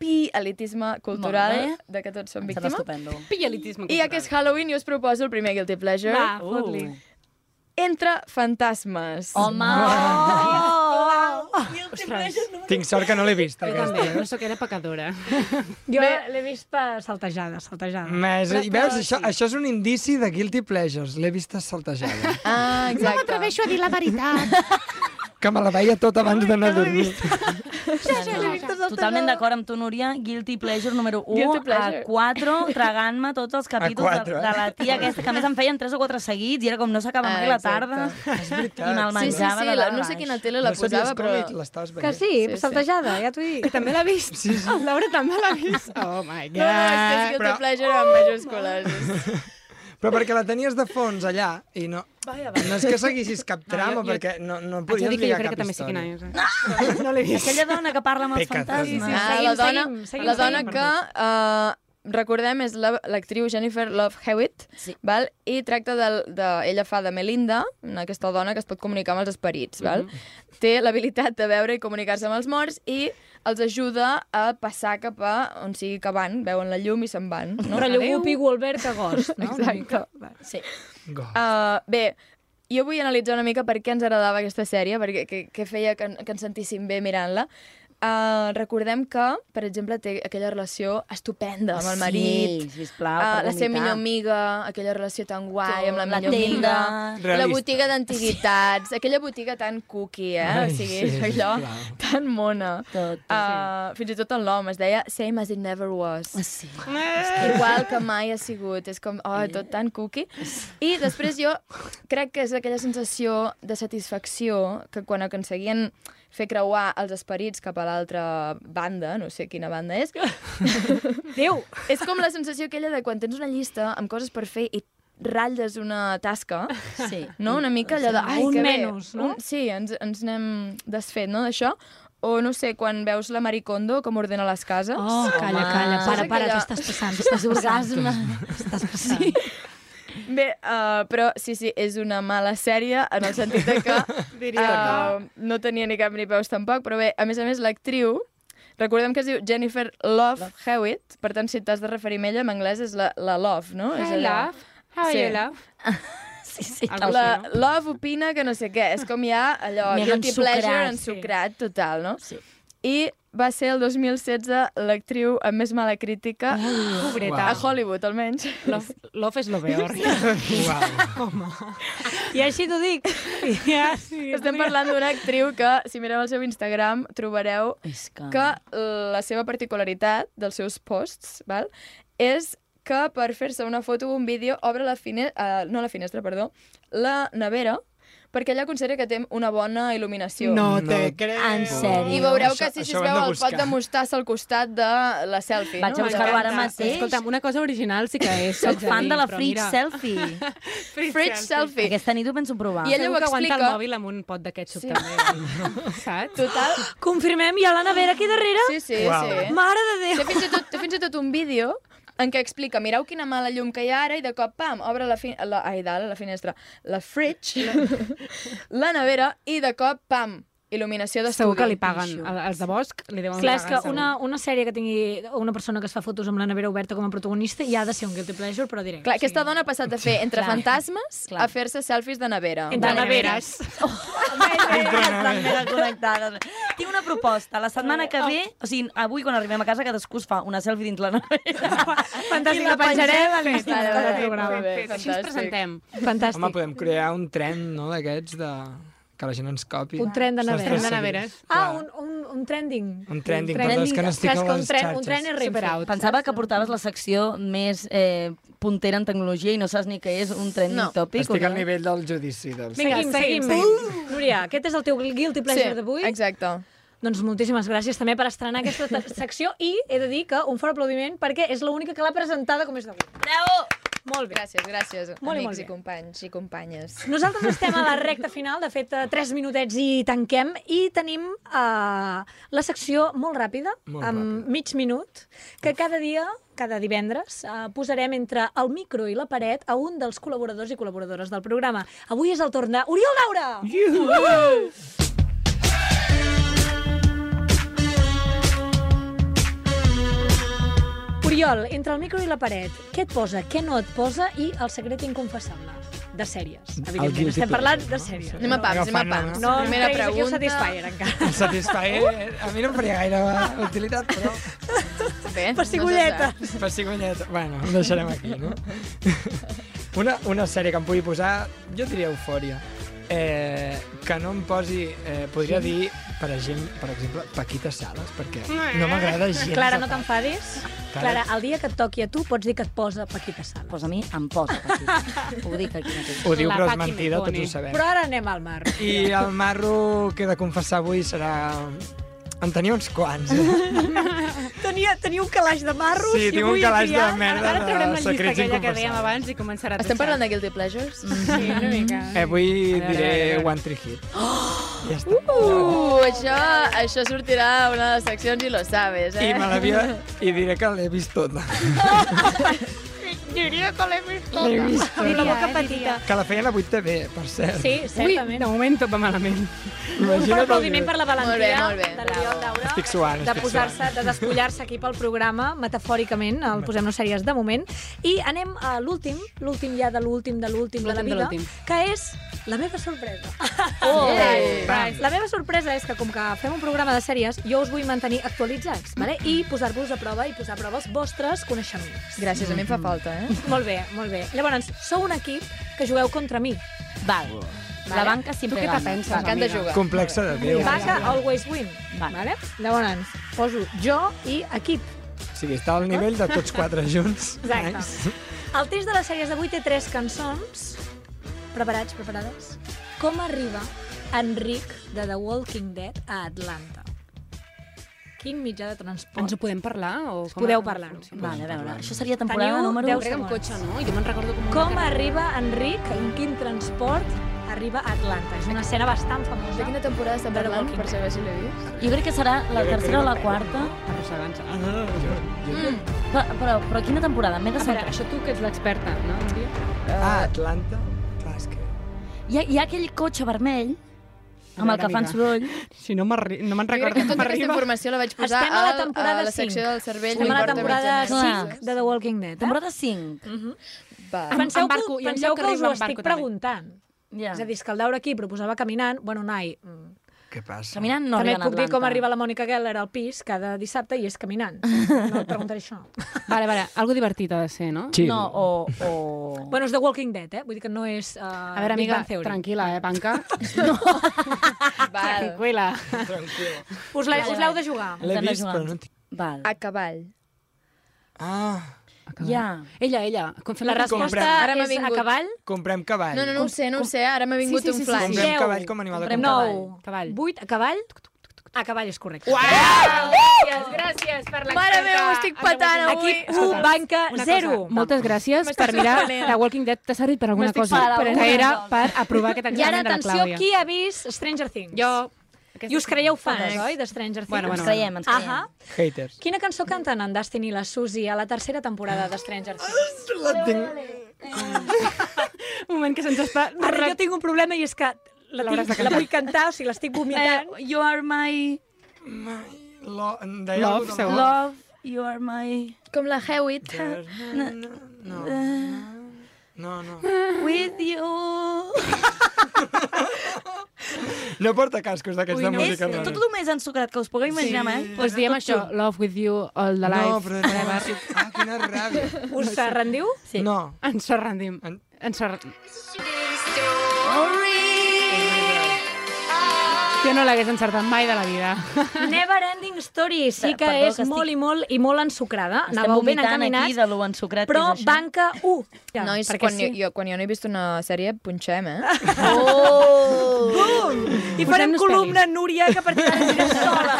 pi elitisme cultural
Molt bé.
de que tots som
Em
víctimes.
sembla estupendo.
Pillalitisme
I aquest Halloween jo us proposo el primer Guilty Pleasure.
Va, fot-li.
Entre fantasmes.
Home!
Oh!
Tinc sort que no l'he vist,
Jo
aquesta.
també,
eh?
no sóc era pecadora.
Jo l'he vist per saltejada, saltejada.
Més, I veus, això, això és un indici de guilty pleasures. L'he vista saltejada.
Ah, exacte. No
m'atreveixo a dir la veritat.
que me la veia tot abans d'anar a dormir.
Ja, ja, ja. Totalment d'acord amb tu, Núria. Guilty pleasure número 1
Guilty
a
pleasure.
4, tragant-me tots els capítols
quatre,
de,
eh?
de la tia aquesta, que a més em feien 3 o 4 seguits i era com no s'acaba mai
Ah,
la tarda. I me'l
Sí, sí, sí,
menjava de
la,
dalt a
no sé
baix.
quina tele la
no
posava,
sabies
però...
com i l'estaves veient.
Que sí, sí saltejada, ja t'ho dic.
També l'ha vist. Sí, sí. Laura també l'ha vist. Oh my
No, no, és que és
god.
Guilty Pleasure amb majúscules.
Però perquè la tenies de fons allà i no... No és que seguissis cap trama,
jo-
perquè no, no
Haig de
podies
dir que jo
lligar
crec
cap
que també sé quina
història.
és. eh? No l'he vist.
Aquella dona que parla amb els
Peca,
fantasmes.
Sí, sí,
Ah,
seguim,
la dona,
seguim, seguim,
la dona
seguim,
que uh, recordem és la- l'actriu la, Jennifer Love Hewitt,
Sí.
val? i tracta de, de... Ella fa de Melinda, una- aquesta dona que es pot comunicar amb els esperits. Val? Té l'habilitat de veure i comunicar-se amb els morts i els ajuda a passar cap a on sigui que van, veuen la llum i se'n van. No?
Però allò Whoopi Goldberg agost, no? Una mica.
Sí.
Uh, bé, jo vull analitzar una mica per què ens agradava aquesta sèrie, perquè què, què feia que, en- que ens sentíssim bé mirant-la. Uh, recordem que, per exemple, té aquella relació estupenda amb el marit,
Sí, sisplau,
Ah,
uh,
per
la seva
vomitar.
millor amiga, aquella relació tan guai amb
La
la millor
tenda.
amiga, la
Realista.
botiga d'antiguitats, aquella botiga tan cookie, eh?
Ai,
o sigui,
sí,
allò
sisplau.
tan mona.
Tot.
Uh, fins i tot en l'home es deia Same as it never was
Ah, Sí.
igual que mai ha sigut. És com, oh, tot tan cookie. I després jo crec que és aquella sensació de satisfacció que quan aconseguien fer creuar els esperits cap a l'altra banda, no sé quina banda és,
Déu!
és com la sensació aquella de quan tens una llista amb coses per fer i ratlles una tasca,
sí.
no? Una mica allò de... Ai,
Un
que bé.
menys, no?
Un, sí, ens, ens n'hem desfet, no?, d'això. O, no sé, quan veus la Maricondo com ordena les cases.
Oh, calla, calla,
Saps
para, para,
aquella-
t'estàs passant, t'estàs orgasme. T'estàs passant. Sí.
Bé, uh, però sí, sí, és una mala sèrie en el sentit de que uh, no tenia ni cap ni peus tampoc, però bé, a més a més, l'actriu, recordem que es diu Jennifer Love, Hewitt, per tant, si t'has de referir amb ella, en anglès és la, la Love, no? és
Hi,
allò-
love. How
Sí.
are you, love?
Sí, sí,
Algo
tal.
així,
La
no?
Love opina que no sé què, és com ja allò,
Mega
guilty
ensucrat,
pleasure
sí.
ensucrat, total, no?
Sí.
I va ser el 2016 l'actriu amb més mala crítica
Pobreta.
a Hollywood, almenys.
Love, love és lo peor.
I així t'ho dic. Ja, sí.
Estem parlant d'una actriu que, si mireu el seu Instagram, trobareu
És
Ah.
que...
que la seva particularitat dels seus posts val, és que per fer-se una foto o un vídeo obre la finestra, uh, no la finestra, perdó, la nevera, perquè ella considera que té una bona il·luminació.
No te creo.
En sèrio.
I veureu
Això-
que si, si es
això ho hem
veu
de
el pot de
buscar.
mostassa al costat de la selfie.
Vaig a
no?
buscar-ho ara mateix.
Escolta'm, una cosa original sí que és.
Soc
haig
fan
dir,
de la
però
Fridge
mira,
Selfie.
Fridge selfie.
Aquesta nit ho penso provar.
I ella ho
Segur que aguanta el
explica.
mòbil amb un pot de ketchup
Sí.
també. Saps?
Total,
Confirmem, hi ha la nevera aquí darrere?
sí, sí,
Uau.
sí. eh?
Mare de
Té
Déu!
fins, i tot, té fins i tot un vídeo en què explica, mireu quina mala llum que hi ha ara i de cop, pam, obre la, fin la, ai, dalt, la finestra, la fridge, la nevera, i de cop, pam, Il·luminació d'estudi.
Segur que li paguen. El- Els de Bosch li deuen
Clar, és
pagar.
que una, una sèrie que tingui una persona que es fa fotos amb la nevera oberta com a protagonista ja ha de ser un guilty pleasure, però diré.
Clar, aquesta dona ha passat de fer entre
Clar.
fantasmes a fer-se selfies de nevera.
Entre neveres. Estan mega connectades. Tinc una proposta. La setmana que ve, o sigui, avui quan arribem a casa, cadascú es fa una selfie dins la nevera.
Fantàstic,
I
la penjarem a
pengem.
l'Insta
Vale,
del
vale,
programa.
perfecte.
Així ens
Fantàstic.
presentem.
Fantàstic.
Home, podem crear un tren, no?, d'aquests de... que la gent ens copi.
Un tren de
Saps?
neveres.
Seguir.
Ah, un, un, un trending.
Un trending, perdó, és que no estic
Saps
a
que un
les
tren-
xarxes.
Un tren és superaut.
Pensava que portaves la secció més eh, puntera en tecnologia i no saps ni què és un trending
No.
topic.
Estic
o
al
què?
nivell del judici. Doncs.
Seguim, seguim. seguim. Núria, aquest és el teu guilty pleasure
Sí,
d'avui?
exacte.
Doncs moltíssimes gràcies també per estrenar aquesta ta- secció i he de dir que un fort aplaudiment perquè és l'única que l'ha presentada com és d'avui.
Bravo!
Molt bé.
Gràcies, gràcies,
Molt i
amics
molt
i companys i companyes.
Nosaltres estem a la recta final, de fet, eh, tres minutets i tanquem, i tenim eh, la secció molt ràpida,
Molt
amb mig minut, que cada dia, cada divendres, eh, posarem entre el micro i la paret a un dels col·laboradors i col·laboradores del programa. Avui és el torn d'Oriol Daura!
Iuhu!
Oriol, entre el micro i la paret, què et posa, què no et posa i el secret inconfessable? De sèries,
guilty
evidentment. Estem parlant de sèries.
Anem a pams, anem a
Agafant
pams.
una-
No,
Primera
Primera
pregunta.
pregunta... Satisfyer, encara.
El Satisfyer, eh, a mi no em faria gaire utilitat, però...
Bé,
Pessigolletes.
Pessigolletes. Bueno, ho deixarem aquí, no? Una, una sèrie que em pugui posar, jo diria eufòria. Eh, que no em posi... Eh, podria dir, per exemple, per exemple, Paquita Sales, perquè no m'agrada gens.
Clara, no t'enfadis.
Clara.
Clara, el dia que et toqui a tu pots dir que et posa Paquita Sala.
Pues a mi em posa Paquita. Ho dic aquí mateix.
Ho diu, La però és Paqui mentida, Meconi. tots ho sabem.
Però ara anem al mar.
I el marro que he de confessar avui serà... En tenia uns quants, eh?
Tenia, tenia un calaix de marros
Sí,
i
tinc un
avui he
calaix de
triat-
merda
Ara- ara
de
traurem la llista
secrets
aquella
inconfessables.
que dèiem
abans i començarà
Estem parlant de Guilty Pleasures?
Sí, una mica.
Eh, avui
A veure,
diré
a veure.
One Tree Hit. Ja està.
Uh, això, això sortirà a una de les seccions i lo sabes, eh?
I me l'havia... I diré que l'he vist tota.
Diria que l'he vist
L'he vist
Amb la
tota.
boca
eh,
petita.
Que la feien a 8 TV, per cert.
Sí, certament.
Ui, de moment tot va malament.
Imagina't
Un fort
el
aplaudiment
dia.
per la valentia molt bé, molt bé. de l'Oriol Daura.
Estic suant,
de
estic
posar-se,
suant.
de despullar-se aquí pel programa, metafòricament, el Posem-nos Sèries de moment. I anem a l'últim, l'últim ja de l'últim, de l'últim de la
L'últim de
vida,
l'últim.
que és la meva sorpresa.
Oh!
Ei!
Bam.
La meva sorpresa és que, com que fem un programa de sèries, jo us vull mantenir actualitzats, vale? i posar-vos a prova i posar a prova els vostres coneixements.
Gràcies, a mi em fa falta, eh?
Molt bé, molt bé. Llavors, sou un equip que jugueu contra mi.
Val. La banca sempre
Tu què
gana.
te penses,
M'encanta
amiga?
jugar.
Complexa de Déu.
Vaca, always win. Vale. vale? Llavors, poso jo i equip.
O sigui, està al nivell de tots quatre junts.
Exacte. El test de les sèries d'avui té tres cançons. Preparats, preparades? Com arriba Enric de The Walking Dead a Atlanta? Quin mitjà de transport?
Ens ho podem parlar? O com
Podeu parlar.
Vale, a veure, això seria temporada
Teniu
número...
10 segons. Com arriba Enric, en quin transport arriba a Atlanta? És una escena bastant famosa. De quina
temporada estem
parlant, per
saber si l'he vist?
Jo crec que serà la tercera o la quarta.
Ah, Arrossegant-se.
Mm. Però, però, però quina temporada? M'he de
A veure, això tu que ets l'experta, no?
Ah, Atlanta. Clar, és que...
Hi ha, hi ha aquell cotxe vermell amb el que fan soroll.
Si no me'n no me'n
Jo crec
recordo,
que
no
tota aquesta
m'arriba.
informació la vaig posar
Estem a la
al-
temporada
a la secció
5.
del cervell.
Estem
no
a la
importa
temporada
mitjans.
5 de The Walking Dead. Eh?
Temporada 5.
Mhm.
Va.
Penseu,
Em barco,
que,
i em
penseu
sap que
que us ho
arriba en barco,
estic
també.
preguntant.
Ja.
És a dir, és que el Daura aquí proposava caminant, bueno, Nai, mm,
Què passa?
Caminant no
també
arriben
et
a
puc dir
Atlanta.
com arriba la Mònica Geller al pis cada dissabte i és caminant. No et preguntaré això.
Vale, vale, algo divertit ha de ser, no?
Chill.
No, o... o...
Bueno, és The Walking Dead, eh? Vull dir que no és uh,
A veure, amiga, tranquil·la, eh, banca? Tranquil·la.
Us l'he-
Vale,
us l'heu
vale.
de jugar.
L'he
Ens hem de
vist,
jugar.
però no tinc...
Val.
A cavall.
Ah,
Ja.
Ella, ella. Com fem
La resposta
Ara m'ha és vingut. a cavall?
comprem cavall.
No, no, no ho sé, no ho sé. Ara m'ha vingut un flash.
Comprem cavall com animal de
Comprem
companyia.
nou. Cavall. Vuit a cavall. A cavall és correcte.
Gràcies, gràcies per l'experta.
Mare meva, ho estic patant avui.
Equip 1, banca
Una
0.
cosa, Moltes gràcies per mirar
sorprenent.
The Walking Dead. T'ha servit per alguna
M'estic
cosa,
parant,
però
una
que era
cosa.
per aprovar aquest
I ara,
examen de la
atenció,
Clàudia.
qui ha vist Stranger Things?
Jo.
I us creieu fans,
Fans.
oi, de Stranger Things?
Bueno, bueno, Ens creiem,
ens creiem.
Ahà.
Haters.
Quina cançó canten en Dustin i la Suzy a la tercera temporada de Stranger Things?
La tinc...
Un moment que se'ns està...
Ah. Ara jo tinc un problema i és que la,
L'hauràs
tinc,
de
la
cantar.
vull cantar, o sigui, l'estic vomitant.
Eh, you are my...
Lo, deia algú
Love,
de
segur. Love, you are my...
Com la Hewitt.
No, no, no, no.
Eh. With you...
No porta cascos d'aquests de
és
música. no,
tot
no.
el més ensucrat que us pugueu imaginar,
Doncs
sí. eh?
pues diem això, Love With You, All The Life.
No, però no, sí. Ah, quina ràbia.
Us rendiu?
Sí.
No.
Ens rendim. Ens rendim. Jo no l'hagués encertat mai de la vida.
Never Ending Story sí que
Perdó,
és
que estic-
molt i molt i molt ensucrada.
Estem
Anàveu ben
vomitant
encaminats,
aquí de lo ensucrat que
però
és això.
banca 1. Ja,
Nois,
perquè
quan,
sí.
uh, jo, jo, quan jo no he vist una sèrie, punxem, eh?
Oh!
Bum! I farem
Posem-nos
columna Núria, que a partir d'ara serà sola.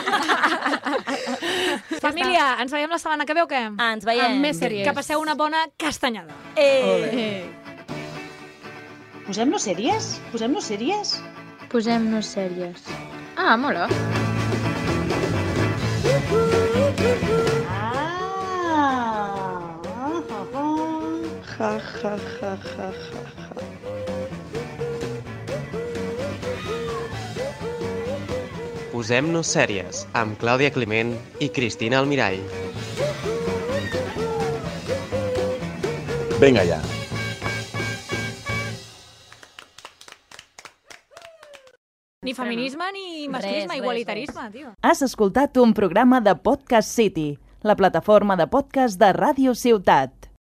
Família, ens veiem la setmana que veu, què?
Ah, ens veiem.
Amb més sèries. Que passeu una bona castanyada. Eh!
Posem-nos sèries? Posem-nos sèries?
Posem-nos sèries. Ah, mola.
Ah, ah, ah, ah.
Ja, ja, ja, ja, ja, ja.
Posem-nos sèries amb Clàudia Climent i Cristina Almirall.
Vinga ja.
Ni feminisme, ni masclisme, igualitarisme, tio.
Has escoltat un programa de Podcast City, la plataforma de podcast de Ràdio Ciutat.